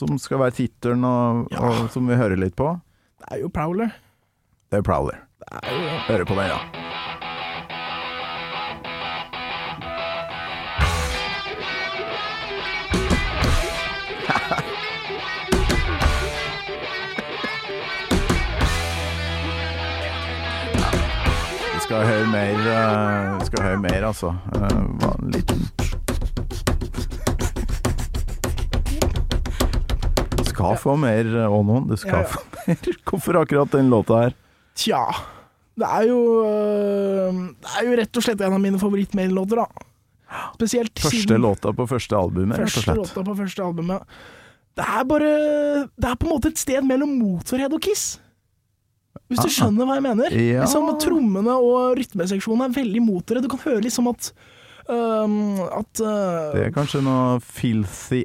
S3: Som skal være tittelen, og, og som vi hører litt på.
S2: Det er jo Prowler.
S3: Det er Prowler. Hører på den, ja. Vi skal høre mer, eh, vi skal høre mer altså. Eh, Var en liten Du skal få mer, eh, Ånon. Du
S2: Ja,
S3: skal
S2: ja.
S3: få mer. Hvorfor akkurat den låta her?
S2: Tja. Det er jo øh, Det er jo rett og slett en av mine favorittmail-låter, da. Spesielt
S3: Første
S2: siden-
S3: låta på første albumet, rett og
S2: Første
S3: slett.
S2: låta på første albumet. Det er bare Det er på en måte et sted mellom Motorhead og Kiss. Hvis du
S3: Ah.
S2: skjønner hva jeg mener?
S3: Ja.
S2: Liksom at Trommene og rytmeseksjonen er veldig Motorhead. Du kan høre liksom at øhm, At øh,
S3: Det er kanskje noe Filthy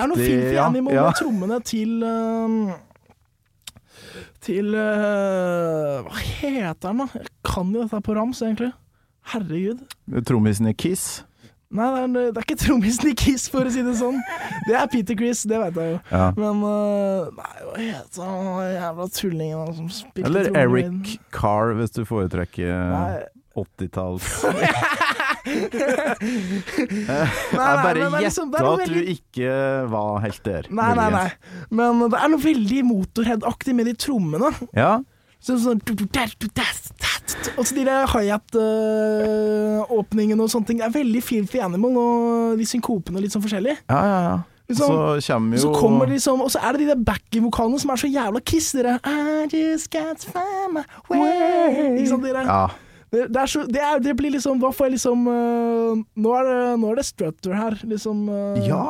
S2: det er noe fint i
S3: ja,
S2: Animal
S3: ja.
S2: med trommene til øhm, Til øh, Hva heter den, da? Jeg kan jo dette på rams, egentlig. Herregud.
S3: Trommisen i Kiss.
S2: Nei, det er, det er ikke trommisen i Kiss, for å si det sånn. Det er Peter Chris, det veit jeg jo.
S3: Ja.
S2: Men øh, Nei, hva heter han den jævla tullingen da, som spilte
S3: Eller
S2: trommer i den?
S3: Eric Carr, hvis du foretrekker
S2: Nei.
S3: 80-talls
S2: Nei,
S3: Jeg
S2: nei,
S3: bare
S2: men det er liksom- det
S3: gjetta
S2: er noe
S3: at du
S2: veldig-
S3: ikke var helt der.
S2: Nei, nei, nei.
S3: muligens.
S2: Men det er noe veldig motorhead-aktig med de trommene.
S3: Ja,
S2: Så, sånn Og så de der high-hat-åpningene og sånne ting. Det er veldig filthy animal, og de synkopene er litt sånn forskjellig.
S3: ja, ja. ja. Så
S2: Liksom,
S3: kommer jo
S2: så kommer det liksom, og så er det de der backing-vokalene som er så jævla kiss, dere. I just can't find my way. Ikke sant, dere?
S3: Ja.
S2: Det, det, er så, det, er, det blir liksom Hva får jeg liksom øh, nå, er det, nå er det strutter her, liksom. øh,
S3: ja.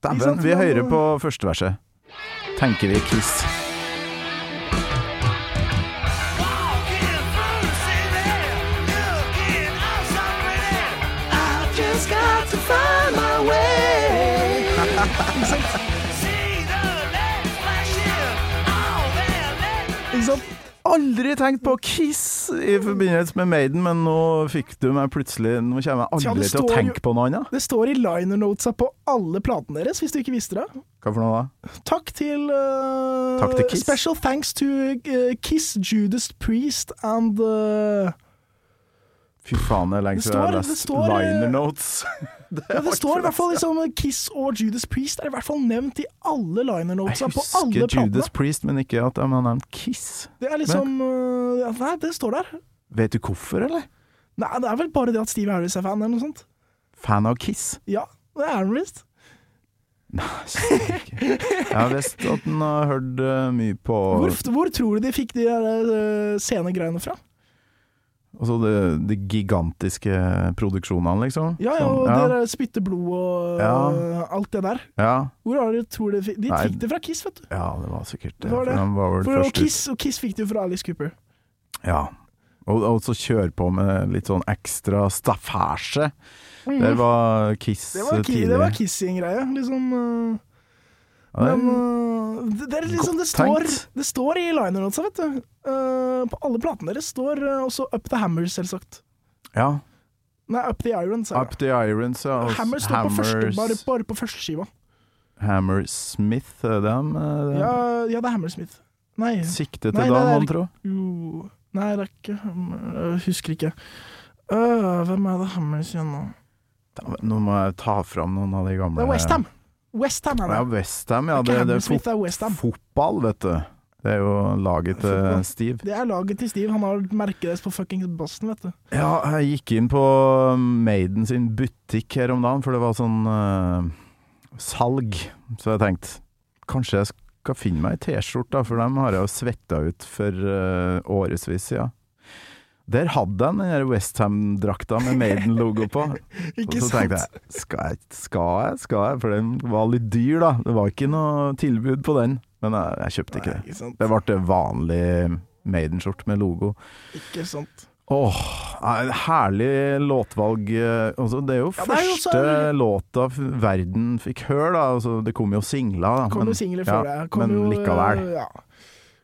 S3: Dæven,
S2: sant,
S3: vi
S2: men-
S3: hører på første verset. Tenker vi Kiss.
S2: Ikke sant?
S3: Aldri tenkt på Kiss i forbindelse med Maiden, men nå fikk du meg plutselig Nå kommer jeg
S2: Ja,
S3: aldri
S2: det
S3: til å
S2: står jo-
S3: tenke på noe annet.
S2: Det står i linernotesa på alle platene deres, hvis du ikke visste det.
S3: Hva for noe da?
S2: Takk til, øh,
S3: Takk til Kiss.
S2: Special eh, thanks to øh, Kiss, Judas Priest and øh,
S3: Fy faen, jeg lengst
S2: Det
S3: siden jeg
S2: står-
S3: har
S2: det
S3: lest
S2: står, eh,
S3: liner notes. det,
S2: Ja,
S3: var
S2: det
S3: ikke
S2: står i
S3: så
S2: hvert fall
S3: lenge siden.
S2: liksom Kiss og Judas Priest er i hvert fall nevnt i alle liner notesa
S3: Jeg
S2: på alle
S3: husker
S2: platene.
S3: Judas Priest, men ikke at han har nevnt Kiss.
S2: Det er liksom øh, ja, Nei, det står der.
S3: Vet du hvorfor, eller?
S2: Nei, det er vel bare det at Steve Harris er fan, eller noe sånt.
S3: Fan av Kiss?
S2: Ja, det er han visst.
S3: Nei, sikkert ikke. Jeg har visst at han har hørt eh, mye på
S2: Hvor, hvor tror du de fikk de der øh, scenegreiene fra?
S3: altså de, de gigantiske produksjonene, liksom.
S2: Ja, ja, og
S3: Sånn,
S2: det der spytte blod og
S3: Ja.
S2: øh, alt det der.
S3: ja. ja.
S2: Hvor har de tror de fikk De
S3: Nei.
S2: fikk det fra Kiss, vet du.
S3: Ja, det var sikkert det.
S2: Det var
S3: for
S2: det.
S3: han var vel
S2: For, og,
S3: først ut.
S2: Kiss, og Kiss fikk det jo fra Alice Cooper.
S3: Ja. Og, og så kjøre på med litt sånn ekstra staffasje. Det var Kiss
S2: Mm.
S3: eh,
S2: Det var, ki
S3: tidlig.
S2: det var Kiss sin greie, liksom. øh,
S3: Ja, det-
S2: Men øh, det, det er liksom det
S3: Godt
S2: står,
S3: tenkt.
S2: det står i liner også, vet du. Øh, på alle platene deres står øh, også Up the Hammer, selvsagt.
S3: ja.
S2: Nei, Up the Iron, sa
S3: Up
S2: jeg.
S3: the Irons, ja. og
S2: eh, Hammer står på første,
S3: Hammers-
S2: bare, bare på første skiva.
S3: Hammer Smith, er det han? er det-
S2: Ja, ja, det er Hammersmith. Nei,
S3: Sikte eh, til
S2: Nei,
S3: da,
S2: nei, det er-
S3: mon tro?
S2: jo Nei, det er ikke Hammer- øh, Husker ikke. Øh, hvem er det Hammers igjen nå?
S3: Da- Nå må jeg ta fram noen av de gamle
S2: Det er Westham! Westham er det.
S3: Ja, Westham, ja.
S2: det er ikke
S3: Det, det er
S2: Hammersmith, det er West Ham.
S3: fot fotball, vet du. Det er jo laget eh, til
S2: Fotball.
S3: Steve.
S2: Det er laget til Steve. Han har merket deres på fuckings Boston, vet du.
S3: Ja, jeg gikk inn på um, Maiden sin butikk her om dagen, for det var sånn eh, salg. Så jeg tenkte kanskje jeg skal finne meg ei T-skjorte, da, for dem har jeg jo svetta ut for uh, årevis siden. Der hadde jeg den der Westham-drakta med Maiden-logo på. Og
S2: Ikke
S3: så
S2: sant?
S3: tenkte jeg skal jeg, skal jeg, skal jeg? For den var litt dyr, da. Det var ikke noe tilbud på den. Men jeg, jeg kjøpte ikke det.
S2: Ikke sant?
S3: Det ble vanlig Maiden-skjorte med logo.
S2: Ikke sant.
S3: Åh, nei, herlig låtvalg. eh, Altså, det er jo
S2: Ja, det er jo
S3: første
S2: så-
S3: låta f- verden fikk høre, da. Altså, det kom jo singler, da.
S2: Kom jo singler før det. Kom
S3: men
S2: jo, eh,
S3: likevel.
S2: Ja.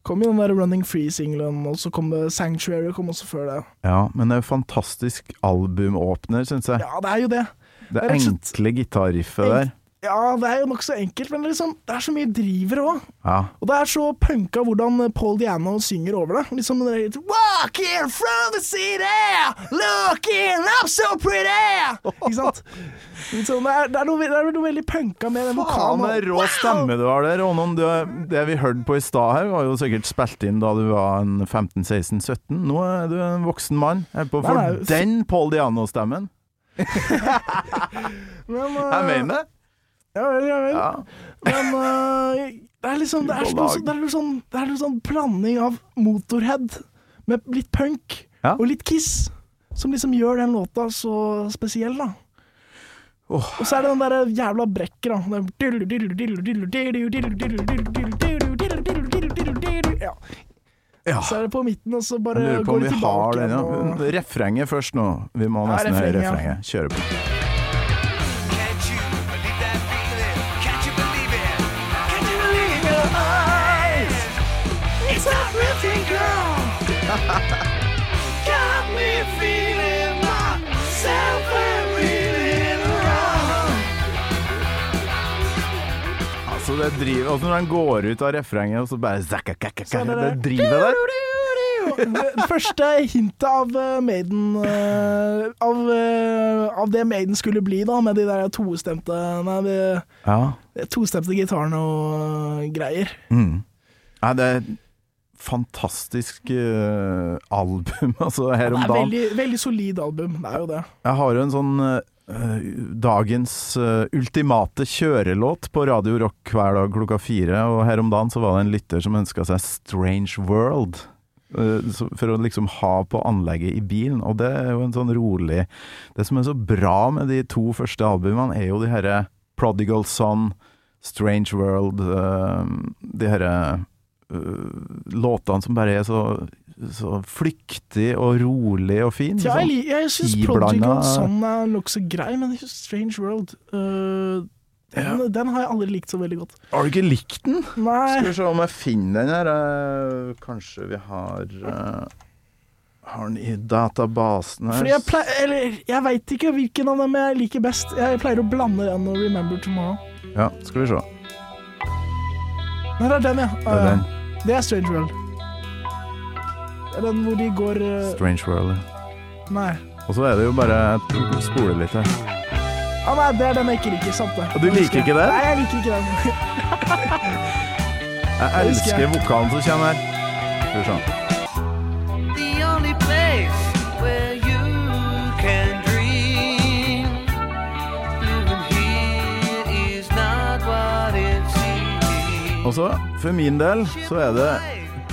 S2: Kom jo den der Running Free-singelen, og så kom det Sanctuary kom også før det.
S3: Ja, men det er jo fantastisk albumåpner, syns jeg.
S2: Ja, det er jo det.
S3: det
S2: det er rett og slett-
S3: enkle gitarriffet der.
S2: Ja, det er jo nokså enkelt, men liksom, det er så mye driver òg.
S3: Ja.
S2: Og det er så punka hvordan Paul Diano synger over det. Liksom det der, Walking from the city, looking up so pretty! Ikke sant? Liksom, det, er, det, er noe, det er noe veldig punka med den
S3: Faen,
S2: vokalen.
S3: det er rå stemme du har der, Ånon. Du- Det vi hørte på i stad her, var jo sikkert spilt inn da du var en 15-16-17. Nå er du en voksen mann. Jeg er på
S2: Nei,
S3: for
S2: nei, f-
S3: den Paul Diano-stemmen.
S2: Men,
S3: Jeg
S2: eh,
S3: mener det.
S2: Ja vel, ja vel.
S3: Ja.
S2: Men eh, det er liksom Det er, noe, sånn- det er, noe, sånn, det er noe sånn blanding av Motorhead med litt punk
S3: Ja.
S2: og litt Kiss, som liksom gjør den låta så spesiell, da. Og så er det den derre jævla brekket, da. Den- Ja.
S3: Ja.
S2: Så er det på midten, og så
S3: Jeg
S2: bare
S3: lurer på
S2: går
S3: om
S2: det
S3: vi har
S2: tilbake.
S3: den.
S2: igjen,
S3: Ja.
S2: og-
S3: Refrenget først nå. Vi må
S2: Ja,
S3: nesten høre
S2: refrenget, ja.
S3: refrenget. Kjøre på.
S7: Can't you believe that feeling? Can't you believe it? Can't you believe it? It's a pretty girl. Got me feeling myself and reeling around.
S3: Altså, det driver, altså når den går ut av refrenget, og så bare zakka, kakka, kakka,
S2: er
S3: Det
S2: det.
S3: driver der.
S2: Det første hintet av eh, Maiden eh, av, eh, av det Maiden skulle bli, da, med de der tostemte Nei, de
S3: Ja.
S2: de tostemte gitarene og eh, greier.
S3: Mm. Nei, det er et fantastisk eh, album, altså, her
S2: Det
S3: om
S2: er
S3: dagen.
S2: veldig, veldig solid album, det er jo det.
S3: Jeg har jo en sånn eh, dagens eh, ultimate kjørelåt på Radio Rock hver dag klokka fire, og her om dagen så var det en lytter som ønska seg 'Strange World'. eh, så- For å liksom ha på anlegget i bilen, og det er jo en sånn rolig Det som er så bra med de to første albumene, er jo de herre Prodigal Son, Strange World eh, De herre eh, låtene som bare er så, så flyktig og rolig og fin.
S2: Tja,
S3: sånn.
S2: jeg, li- jeg syns
S3: Iblanda-
S2: Prodigal Son er nokså grei, men jeg synes Strange World eh, den, den har jeg aldri likt så veldig godt.
S3: Har du ikke likt den? Skal
S2: Nei,
S3: vi se om jeg finner den her. eh, Kanskje vi har eh, Har den i databasen her.
S2: fordi jeg pleier Eller, jeg veit ikke hvilken av dem jeg liker best. Jeg pleier å blande den og Remember Tomorrow.
S3: Ja, skal vi se.
S2: Nei, det er den, ja. Øh,
S3: Det er den.
S2: Det er Strange World. Det er den hvor de går eh,
S3: Strange World.
S2: Nei.
S3: Og så er det jo bare spole litt her.
S2: Ja, nei, det er den jeg ikke liker. Sant det.
S3: Og du liker ikke den?
S2: Nei, jeg liker ikke den.
S3: Jeg elsker vokalen som kommer her. Skal vi se.
S7: The only place where you can dream. Living here is not what it seems.
S3: Og så, for min del, så er det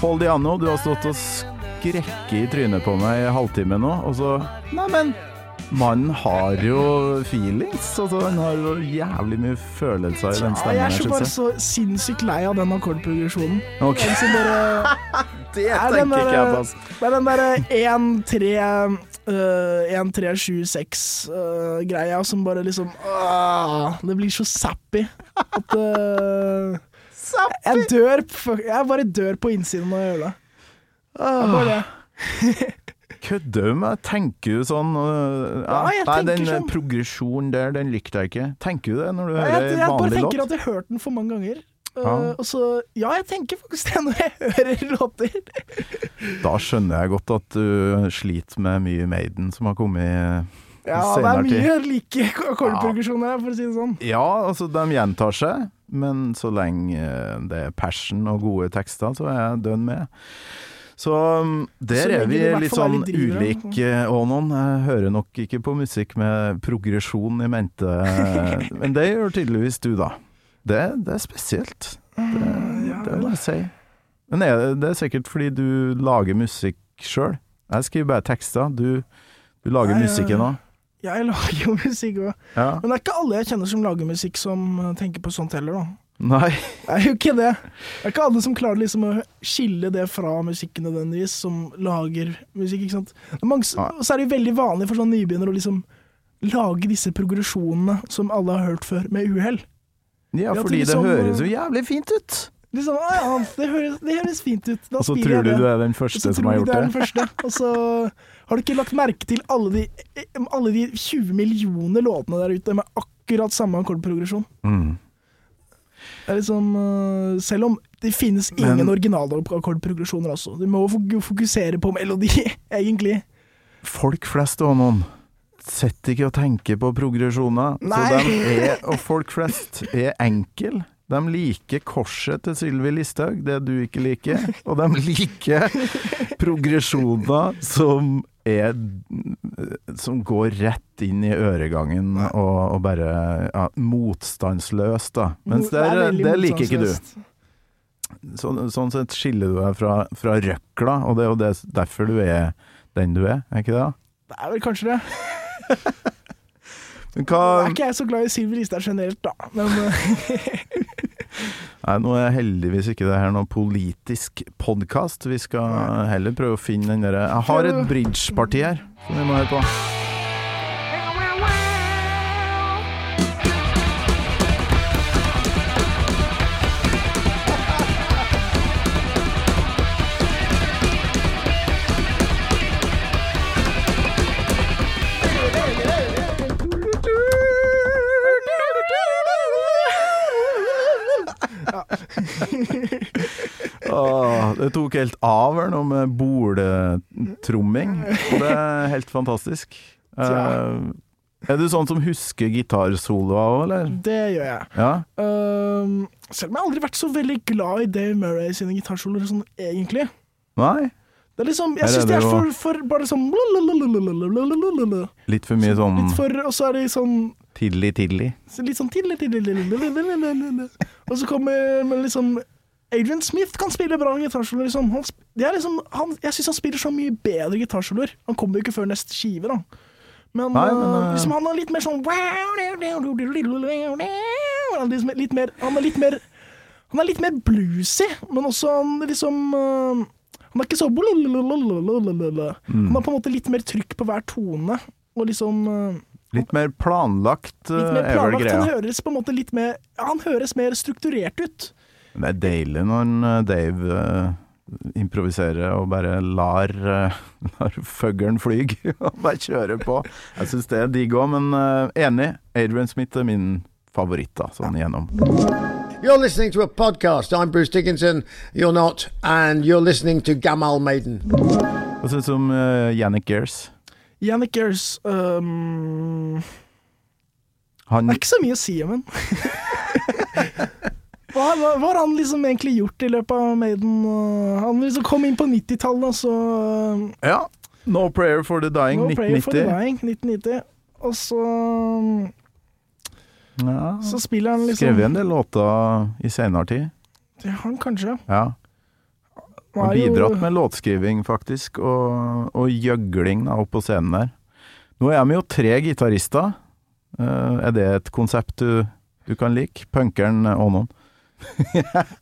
S3: Paul Diano, du har stått og skrekke i trynet på meg i en halvtime nå, og så Nei, men Mannen har jo feelings. Altså, han har jo jævlig mye følelser i den
S2: Ja, jeg er så bare
S3: stemmen. her, synes jeg.
S2: så sinnssykt lei av den akkordprogresjonen.
S3: Ok.
S2: Den som bare
S3: Det
S2: er den
S3: tenker ikke jeg på.
S2: der, eh,
S3: ass.
S2: det er den derre eh, 1-3-7-6-greia eh, som bare liksom ah, Det blir så sappy at eh, Jeg dør på- Jeg bare dør på innsiden når jeg gjør det. Jeg bare det.
S3: Kødder du med meg? Tenker du sånn øh,
S2: Ja, jeg
S3: Nei,
S2: tenker
S3: den
S2: sånn.
S3: progresjonen der, den likte jeg ikke. Tenker du det når du
S2: Jeg,
S3: hører
S2: jeg, jeg bare
S3: vanlig
S2: tenker
S3: låt?
S2: at jeg har hørt den for mange ganger. Eh,
S3: Ja.
S2: Og så Ja, jeg tenker faktisk det når jeg hører låter.
S3: Da skjønner jeg godt at du sliter med mye Maiden som har kommet
S2: Ja, det
S3: Senere
S2: er
S3: tid.
S2: mye like akkordprogresjoner her, for å si det sånn.
S3: Ja, altså, de gjentar seg, men så lenge eh, det er passion og gode tekster, så er jeg dønn med. Så um,
S2: Så
S3: der
S2: lenge
S3: er
S2: det
S3: vi
S2: i hvert
S3: litt
S2: fall er
S3: sånn
S2: litt driver, ja.
S3: ulik eh, Ånon. Jeg hører nok ikke på musikk med progresjon i mente, eh, men det gjør tydeligvis du, da. Det, det er spesielt. Det,
S2: Ah,
S3: det må jeg si. Men er det, det er sikkert fordi du lager musikk sjøl. Jeg skriver bare tekster. Du, du lager
S2: Nei, jeg-
S3: musikken òg.
S2: Jeg lager jo musikk òg.
S3: Ja.
S2: Men det er ikke alle jeg kjenner som lager musikk som eh, tenker på sånt heller, da.
S3: Nei.
S2: Det er jo ikke det. Det er ikke alle som klarer liksom å skille det fra musikken nødvendigvis, som lager musikk, ikke sant. Det er mange, s-
S3: Nei.
S2: og så er det jo veldig vanlig for sånne nybegynnere å liksom lage disse progresjonene som alle har hørt før, med uhell.
S3: Ja, sånn,
S2: Ja, til
S3: fordi det
S2: liksom,
S3: høres jo
S2: eh,
S3: jævlig fint ut.
S2: Liksom, «Å ja, det høres, det høres fint ut. Da
S3: Og så
S2: spiller
S3: tror
S2: jeg
S3: du
S2: det.
S3: du er den
S2: Og så
S3: første som
S2: tror du det
S3: har
S2: er den
S3: gjort det?
S2: første, og så har du ikke lagt merke til alle de, eh, alle de 20 millioner låtene der ute med akkurat samme akkordprogresjon.
S3: Mm.
S2: Det er liksom, øh, selv om det finnes ingen
S3: Men-
S2: originalakkordprogresjoner også. Du må jo fok- fokusere på melodi, egentlig.
S3: Folk flest og noen sitter ikke og tenker på progresjoner.
S2: Nei.
S3: Så de er, og folk flest er enkel. De liker korset til Sylvi Listhaug, det du ikke liker. Og de liker progresjoner som er Som går rett inn i øregangen og, og bare ja, motstandsløst, da. Mens
S2: Det er
S3: der,
S2: veldig
S3: der liker ikke du.
S2: motstandsløst.
S3: så, sånn sett skiller du deg fra, fra røkla, og det er jo det, derfor du er den du er, er ikke det?
S2: Det er vel kanskje det.
S3: Men hva,
S2: Nå er ikke jeg så glad i Sylvi Listhaug generelt, da. Men øh,
S3: nei, nå er heldigvis ikke det her noen politisk podkast. Vi skal heller prøve å finne den derre Jeg har et bridgeparti her som vi må høre på. Åh, det tok helt av her nå med boletromming. Og det er helt fantastisk.
S2: Tja.
S3: Eh, er du sånn som husker gitarsoloa òg, eller?
S2: det gjør jeg.
S3: Ja?
S2: Øhm, selv om jeg aldri har vært så veldig glad i Dave Murray sine gitarsoloer, sånn egentlig.
S3: Nei?
S2: Det er liksom,
S3: Her
S2: jeg
S3: er
S2: syns det
S3: det
S2: er
S3: jo-
S2: for, for bare sånn lalalalalalalalalala.
S3: Litt for mye sånn
S2: Litt for, og så er det sånn
S3: tidlig-tidlig?
S2: Litt sånn tidlig, tidlig, lalalalalalala. Og så kommer men liksom Adrian Smith kan spille bra gitarsoloer. Liksom. Han, sp- det er liksom, han, jeg syns han spiller så mye bedre gitarsoloer. Han kommer jo ikke før neste skive, da. Men,
S3: Nei, men,
S2: øh,
S3: øh,
S2: liksom, han er litt mer sånn han er liksom litt mer, Han er litt mer Han er litt mer bluesy, men også han liksom øh, Han er ikke så
S3: Mm.
S2: Han har på en måte litt mer trykk på hver tone, og liksom øh,
S3: Litt mer planlagt,
S2: Litt mer
S3: eh, er vel
S2: planlagt. Han
S3: greia.
S2: høres på en måte litt mer ja, Han høres mer strukturert ut.
S3: Det er deilig når en, eh, Dave eh, improviserer og bare lar, eh, lar føggelen flyg og bare kjører på. Jeg syns det er digg òg, men eh, enig. Adrian Smith er min favoritt, da, sånn igjennom.
S8: You're listening to a podcast. I'm Bruce Dickinson. You're not. And you're listening to Gamal Maiden.
S3: Hva syns du om eh, Yannick Gears?
S2: Jannikers um,
S3: Han
S2: Det er ikke så mye å si om ham. Hva hva- hva har han liksom egentlig gjort i løpet av Maiden? Uh, Han liksom kom inn på 90-tallet, og så um,
S3: Ja. No Prayer for the Dying,
S2: No Prayer for the
S3: 1990.
S2: Dying, 1990. Og så, um,
S3: Ja.
S2: så spiller han liksom
S3: Skrevet en del låter i senere tid.
S2: Det har han kanskje.
S3: Ja.
S2: Han
S3: Han
S2: er jo-
S3: bidratt med låtskriving, faktisk, og, og gjøgling da, opp på scenen der. Nå er vi jo tre gitarister. Eh, er det et konsept du, du kan like? Punkeren Ånon.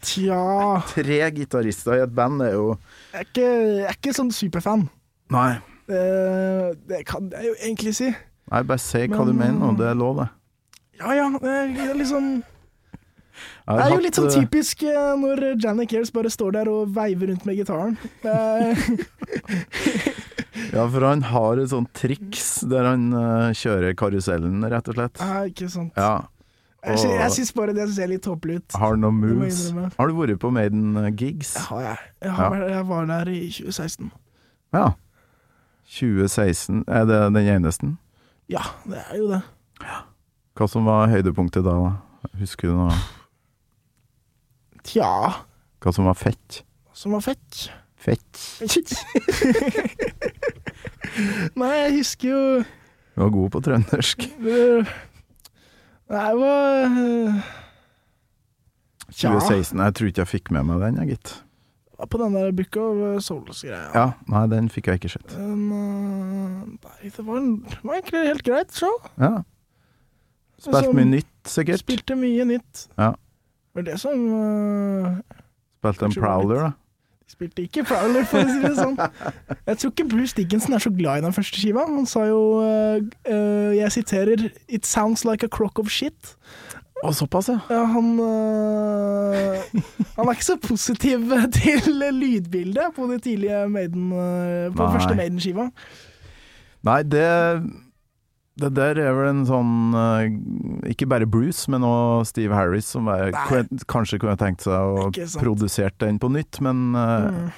S2: Tja
S3: Tre gitarister i et band er jo
S2: Jeg er ikke, jeg er ikke sånn superfan.
S3: Nei,
S2: Eh, det kan jeg jo egentlig si.
S3: Nei bare si hva
S2: Men-
S3: du mener, og det er lov, det.
S2: Ja ja, det er liksom
S3: Jeg har
S2: Det er jo
S3: hatt,
S2: litt sånn
S3: eh,
S2: typisk eh, når Janet Kears bare står der og veiver rundt med gitaren. Eh,
S3: Ja, for han har et sånt triks der han eh, kjører karusellen, rett og slett.
S2: Nei, ikke sant.
S3: Ja,
S2: Jeg, sy- jeg syns bare det ser litt tåpelig ut.
S3: Har noen
S2: må jeg
S3: moves.
S2: innrømme.
S3: Har du vært på eh, Maiden-gigs?
S2: Har jeg. Jeg, har,
S3: Ja.
S2: vært- jeg var der i 2016.
S3: Ja. 2016 er det den eneste.
S2: Ja, det er jo det.
S3: Hva som var høydepunktet da? da? Husker du noe?
S2: Tja,
S3: Hva som var fett?
S2: som var fett.
S3: Fett.
S2: Nei, jeg husker jo
S3: Du var god på trøndersk.
S2: det- Nei, det var eh, Tja.
S3: 2016, jeg tror ikke jeg fikk med meg den, jeg, gitt.
S2: var På den der Book of Souls-greia.
S3: Ja, nei, den fikk jeg ikke sett.
S2: Den, Um, eh, nei, det var, en- det var egentlig helt greit show.
S3: Ja. Spilt
S2: Sånn-
S3: mye nytt, sikkert.
S2: Spilte mye nytt.
S3: Ja.
S2: Det var det som eh,
S3: Spilt en
S2: Kanskje det var
S3: prowler, da.
S2: Spilte ikke Prowler, for å si det sånn. Jeg tror ikke Bruce Dickinson er så glad i den første skiva. Han sa jo eh, eh, Jeg siterer It sounds like a crock of shit.
S3: Å, såpass, ja.
S2: Ja, han eh, Han er ikke så positiv til lydbildet på det tidlige Maiden eh, På den
S3: Nei.
S2: første Maiden-skiva.
S3: Nei, det det der er vel en sånn eh, Ikke bare Bruce, men òg Steve Harris, som er,
S2: Nei.
S3: kunne- kanskje kunne tenkt seg å
S2: Ikke sant. Mm.
S3: produsert den på nytt, men eh,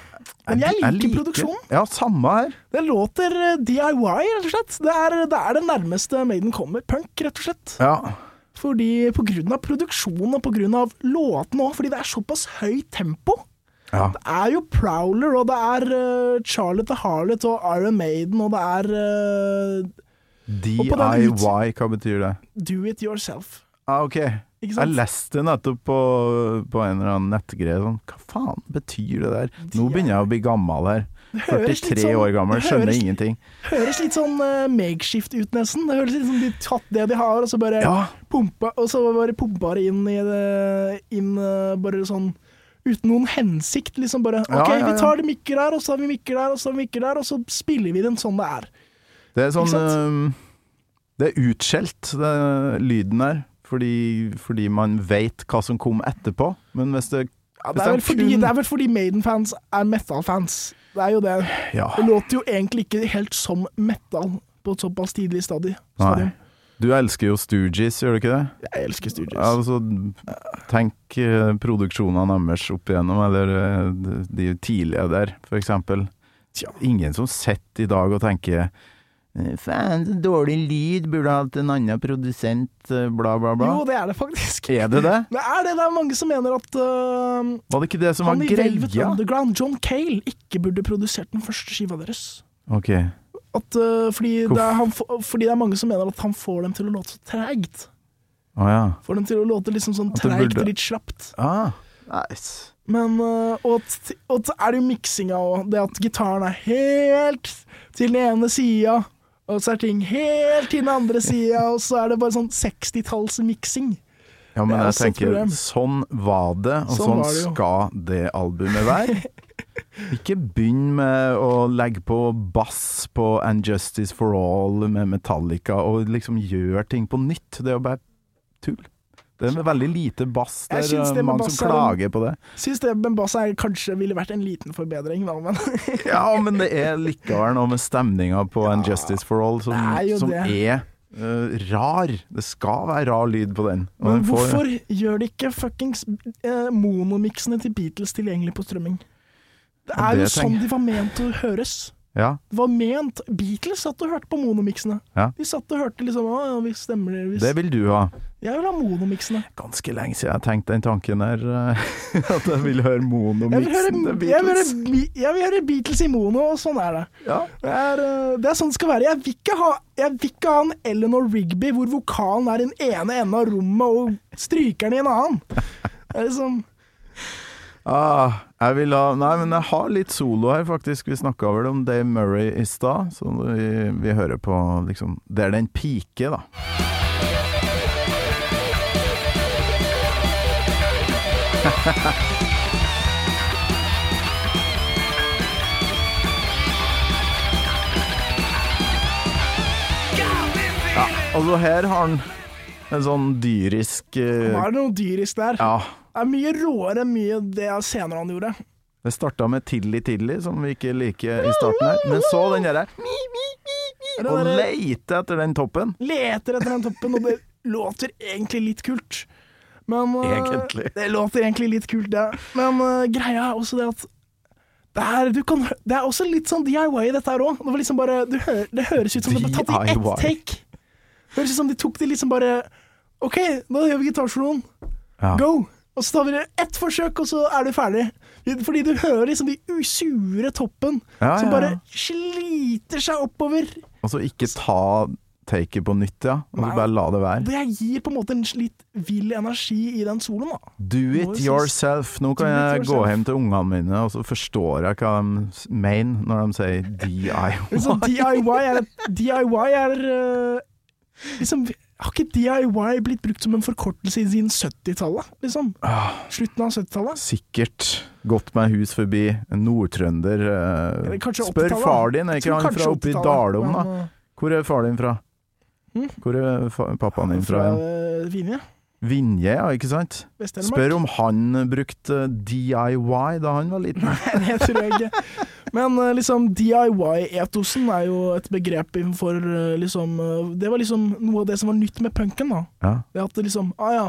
S2: Men jeg liker produksjonen.
S3: Ja, samme her.
S2: Det låter eh, DIY, rett og slett. Det er det, er det nærmeste Maiden kommer punk, rett og slett.
S3: Ja.
S2: Fordi på grunn av produksjonen og på grunn av låtene òg, fordi det er såpass høyt tempo.
S3: Ja.
S2: Det er jo Prowler, og det er eh, Charlotte the Harlot og Iron Maiden, og det er eh, på den ut-
S3: DIY, hva betyr det?
S2: Do It Yourself.
S3: Ah, ok.
S2: Ikke
S3: Jeg
S2: sant?
S3: leste nettopp på, på en eller annen nettgreie sånn Hva faen betyr det der? Nå begynner jeg å bli gammel her.
S2: høres litt
S3: 43
S2: sånn-
S3: år gammel,
S2: det
S3: skjønner
S2: høres-
S3: ingenting.
S2: Høres litt sånn eh, makeshift ut, nesten. Det høres litt som de tatt det de har, og så bare
S3: Ja.
S2: pumpa Og så bare pumpa det inn i det Inn eh, bare sånn Uten noen hensikt, liksom bare
S3: Ja,
S2: OK,
S3: ja, ja.
S2: vi tar det mikker der, og så har vi mikker der, og så har vi mikker der, og så spiller vi den sånn det er.
S3: Det er sånn
S2: Ikke sant?
S3: ehm, Det er utskjelt, det, lyden der, fordi, fordi man veit hva som kom etterpå. Men hvis det
S2: Ja, det,
S3: hvis
S2: er vel
S3: de
S2: fordi,
S3: kun-
S2: det er vel fordi Maiden-fans er metal-fans. Det er jo det.
S3: Ja.
S2: Det låter jo egentlig ikke helt som metal på et såpass tidlig stadie. stadium.
S3: Nei. Du elsker jo Stooges, gjør du ikke det?
S2: Jeg elsker Stooges.
S3: Altså, tenk eh, produksjonene deres opp igjennom, eller eh, de tidlige der, for eksempel.
S2: Tja.
S3: Ingen som sitter i dag og tenker eh, Faen, så dårlig lyd, burde ha hatt en annen produsent, eh, bla, bla, bla.
S2: Jo, det er det faktisk.
S3: Er det det?
S2: Men er det det er mange som mener at øh,
S3: Var det ikke det som
S2: han
S3: var
S2: i Velvet
S3: greia?
S2: Underground, John Cale, ikke burde produsert den første skiva deres?
S3: Ok,
S2: At, øh, fordi, det er
S3: Hvorfor?
S2: han, få- fordi det er mange som mener at han får dem til å låte så treigt.
S3: å ja.
S2: Får dem til å låte liksom sånn
S3: At det
S2: treigt
S3: burde-
S2: og litt slapt.
S3: Ah, nice.
S2: Men, øh, og, t- og t- er det jo miksinga òg. Det at gitaren er helt til den ene sida, og så er ting helt til den andre sida, og så er det bare sånn 60-tallsmiksing.
S3: Ja, men
S2: Det er
S3: jeg
S2: også et
S3: tenker,
S2: problem.
S3: sånn var det, og
S2: Sånn
S3: sånn,
S2: var det jo.
S3: skal det albumet være. Ikke begynn med å legge på bass på And Justice For All med Metallica, og liksom gjør ting på nytt. Det er jo bare tull. Det er med veldig lite bass. Det
S2: Jeg
S3: er
S2: syns det
S3: eh,
S2: med
S3: mange
S2: bass
S3: som
S2: er en-
S3: klager på det.
S2: Syns det med bass er kanskje ville vært en liten forbedring, da, men
S3: Ja, men det er likevel noe med stemninga på And Justice For All som,
S2: det er jo
S3: som
S2: det.
S3: er eh, rar. Det skal være rar lyd på den. og
S2: Men
S3: den får-
S2: hvorfor gjør de ikke fuckings eh, monomiksene til Beatles tilgjengelig på strømming? Det
S3: Ja,
S2: er
S3: det
S2: jo
S3: tenker
S2: sånn de var ment å høres.
S3: Ja.
S2: Det var ment Beatles satt og hørte på monomiksene.
S3: Ja.
S2: De satt og hørte liksom Å, ja, vi stemmer det hvis
S3: Det vil du ha.
S2: Jeg vil ha monomiksene.
S3: Ganske lenge siden jeg tenkte den tanken der. eh, At jeg vil høre
S2: Jeg vil, høre,
S3: monomiksen til
S2: jeg, vil høre,
S3: Beatles.
S2: Be- jeg vil høre Beatles i mono, og sånn er det.
S3: Ja.
S2: Det er, eh, det er sånn det skal være. Jeg vil ikke ha, jeg vil ikke ha en Eleanor Rigby hvor vokalen er i den ene enden av rommet og strykeren i en annen. Det er liksom
S3: Ah, jeg vil ha Nei, men jeg har litt solo her, faktisk. Vi snakka vel om Dave Murray i stad, så vi, vi hører på liksom Det er den pike, da. Altså, her har han en sånn dyrisk eh,
S2: Hva er det noe dyrisk der?
S3: Ja.
S2: Det er mye råere enn mye det jeg senere han gjorde.
S3: Det starta med Tilly Tilly, som vi ikke liker i starten her. Men så den derre
S2: Det
S3: Og
S2: der- eh,
S3: leite etter den toppen.
S2: leter etter den toppen, og det låter egentlig litt kult. Men, eh,
S3: Egentlig.
S2: Det låter egentlig litt kult, det. Men eh, greia er også det at det er, du kan, hø- det er også litt sånn DIY i dette her òg. Det, var liksom bare- du hø- det høres ut som det ble tatt i
S3: DIY.
S2: ett take. Det høres ut som de tok det liksom bare OK, nå gjør vi gitarsoloen.
S3: Ja.
S2: Go! Og så tar vi ett forsøk, og så er du ferdig. Fordi du hører liksom de usure toppen
S3: Ja,
S2: som
S3: ja, ja.
S2: bare sliter seg oppover.
S3: Og så ikke ta taket på nytt, ja. Og så
S2: Nei.
S3: bare la det være.
S2: Det gir på en måte en litt vill energi i den soloen, da.
S3: Do
S2: Må jo
S3: it
S2: synes-
S3: yourself. Nå kan
S2: Do it
S3: jeg gå
S2: yourself.
S3: hjem til ungene mine, og så forstår jeg hva de s- mener når de sier DIY.
S2: Liksom, DIY er, DIY er eh, liksom, Har ikke DIY blitt brukt som en forkortelse siden 70-tallet? Liksom?
S3: Ah.
S2: Slutten av 70-tallet?
S3: Sikkert gått meg hus forbi en nordtrønder eh,
S2: Eller kanskje
S3: Spør
S2: 80-tallet.
S3: far din, er
S2: Jeg
S3: ikke
S2: tror
S3: han
S2: kanskje
S3: fra oppe i
S2: 80-tallet,
S3: Dalom, da?
S2: men, eh,
S3: Hvor er far din fra?
S2: Hm?
S3: Hvor er fa pappaen din fra
S2: Fra
S3: igjen?
S2: eh, Vinje?
S3: Vinje, ja, ikke sant?
S2: Vest-Telemark?
S3: Spør om han brukte DIY da han var liten.
S2: Det tror jeg ikke. Men eh, liksom, DIY-etosen er jo et begrep innenfor eh, liksom, eh, Det var liksom noe av det som var nytt med punken. da.
S3: Ja,
S2: Det at det liksom, ah, ja,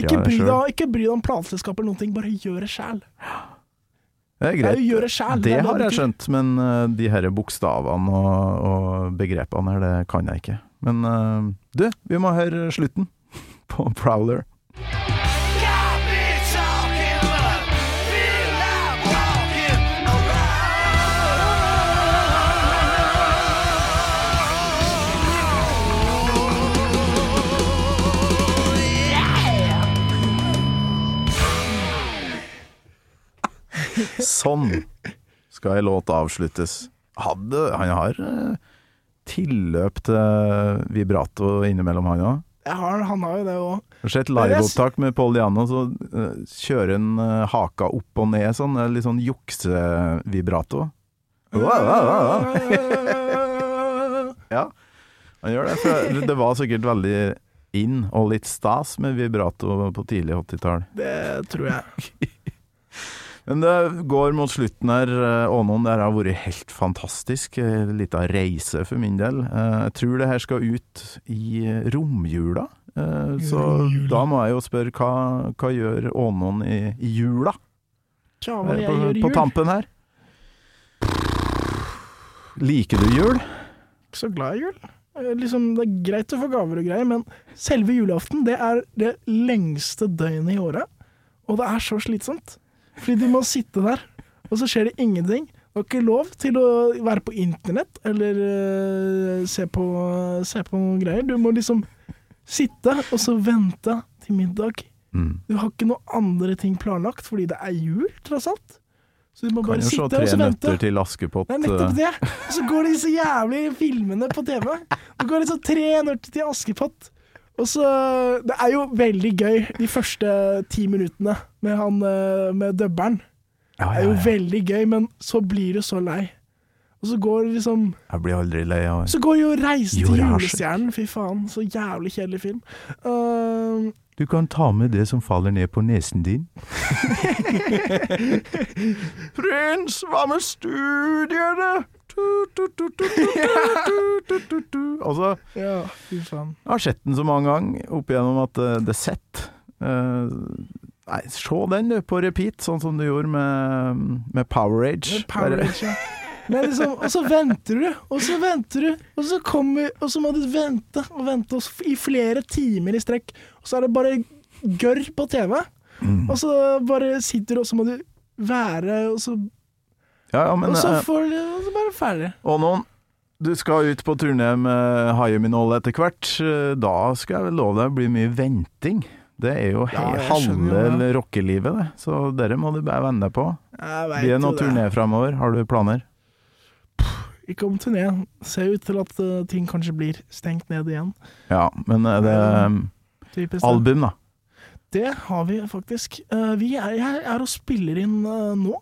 S2: ikke,
S3: jeg det
S2: bry
S3: selv?
S2: deg, ikke bry deg om plateselskap eller noen ting, bare gjør det sjæl.
S3: Det er
S2: Det
S3: greit.
S2: er jo gjøre sjæl.
S3: Det har jeg skjønt, men eh, de her bokstavene og, og begrepene her, det kan jeg ikke. Men eh, du, vi må høre slutten på Prowler. Sånn skal en låt avsluttes. Hadde, han har eh, tilløp til eh, vibrato innimellom, han òg.
S2: Jeg har, han har jo det òg.
S3: Har sett liveopptak med Paul Diano, så eh, kjører han eh, haka opp og ned sånn. eh, Litt sånn juksevibrato. Ja, han gjør det. For det var sikkert veldig inn og litt stas med vibrato på tidlig 80-tall.
S2: Det tror jeg.
S3: Men det går mot slutten her. eh, Ånon, det her har vært helt fantastisk. Eh, Lita reise for min del. Eh, Jeg tror det her skal ut i eh, romjula. Eh, Så da må jeg jo spørre hva, hva gjør Ånon i, i jula?
S2: Tja,
S3: Eh,
S2: hva jeg
S3: På,
S2: gjør i
S3: på
S2: jul?
S3: tampen her. Liker du jul?
S2: Ikke så glad i jul. Eh, Liksom, det er greit å få gaver og greier, men selve julaften det er det lengste døgnet i året. Og det er så slitsomt. Fordi du må sitte der, og så skjer det ingenting. Du har ikke lov til å være på internett eller eh, se, på, se på noen greier. Du må liksom sitte og så vente til middag.
S3: Mm.
S2: Du har ikke noe andre ting planlagt, fordi det er jul, tross alt. Så du må
S3: Kan
S2: bare
S3: jo se
S2: sitte
S3: Tre
S2: og så vente.
S3: nøtter til Askepott.
S2: Det er nettopp
S3: eh,
S2: det! Og så går disse jævlige filmene på TV. Det går liksom tre nøtter til Askepott. Og så Det er jo veldig gøy de første ti minuttene med han eh, med dubberen. Det
S3: Ja,
S2: er
S3: ja,
S2: jo
S3: ja.
S2: veldig gøy, men så blir du så lei. Og så går liksom
S3: Jeg blir aldri lei av
S2: Så går jo 'Reise til
S3: Jorda har skjønt.
S2: julestjernen'. Fy faen, så jævlig kjedelig film. Ehm,
S3: Du kan ta med det som faller ned på nesen din. Prins, hva med studiene? Altså,
S2: ja, fy faen.
S3: jeg har sett den så mange ganger opp igjennom at eh, det sitter. Eh, nei, se den du, på repeat, sånn som du gjorde med, med Power Age.
S2: Power
S3: Bare-
S2: Rangers, ja. Men liksom, og så venter du, og så venter du, og så kommer Og så må du vente og vente og s- i flere timer i strekk. Og så er det bare gørr på TV.
S3: Mm.
S2: Og så bare sitter du, og så må du være Og så,
S3: Ja, ja, men
S2: og så
S3: eh,
S2: får du Og så bare ferdig.
S3: Og noen, du skal ut på turné med Haieminollet etter hvert. Eh, Da skal jeg vel love deg å bli mye venting. Det er jo
S2: Ja, jeg skjønner
S3: halve
S2: jo
S3: rockelivet, det. Så dere må du bare venne deg på.
S2: Jeg vet
S3: Blir det
S2: jo
S3: noen turné framover? Har du planer?
S2: Ikke om turné. Ser ut til at eh, ting kanskje blir stengt ned igjen.
S3: Ja, men er det um,
S2: Typisk. det.
S3: album, da?
S2: Det har vi faktisk. Eh, vi er, jeg er og spiller inn eh, nå.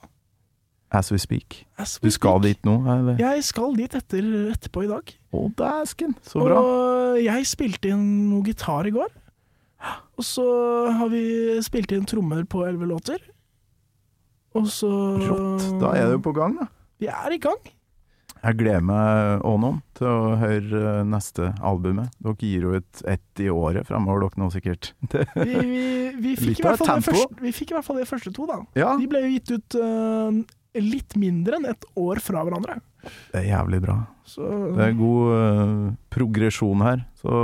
S3: As we speak.
S2: As we
S3: Du skal
S2: speak.
S3: dit nå? Eller?
S2: Jeg skal dit etter, etterpå i dag.
S3: Å, dæsken! Så bra.
S2: Og jeg spilte inn noe gitar i går. Og så har vi spilt inn trommer på elleve låter. Og så
S3: Rått. Da er du på gang, da.
S2: Vi er i gang.
S3: Jeg gleder meg, Ånom, til å høre eh, neste albumet. Dere gir jo ut ett i året framover, dere nå sikkert. Det,
S2: Vi, vi, vi,
S3: Litt
S2: fikk i
S3: av
S2: hvert fall de
S3: tempo.
S2: første, vi fikk i hvert fall de første to, da.
S3: ja.
S2: De ble jo gitt ut eh, litt mindre enn ett år fra hverandre.
S3: Det er jævlig bra.
S2: Så
S3: Det er god eh, progresjon her. Så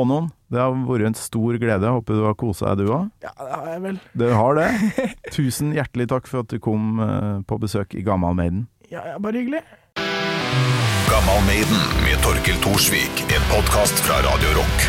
S3: Ånon, det har vært en stor glede. Jeg Håper du har kosa deg, du òg.
S2: ja, det har jeg vel.
S3: Du har det. Tusen hjertelig takk for at du kom eh, på besøk i Gammal Maiden.
S2: Ja, ja, bare hyggelig.
S4: Gammal Maiden med Torkel Thorsvik. En podkast fra Radio Rock.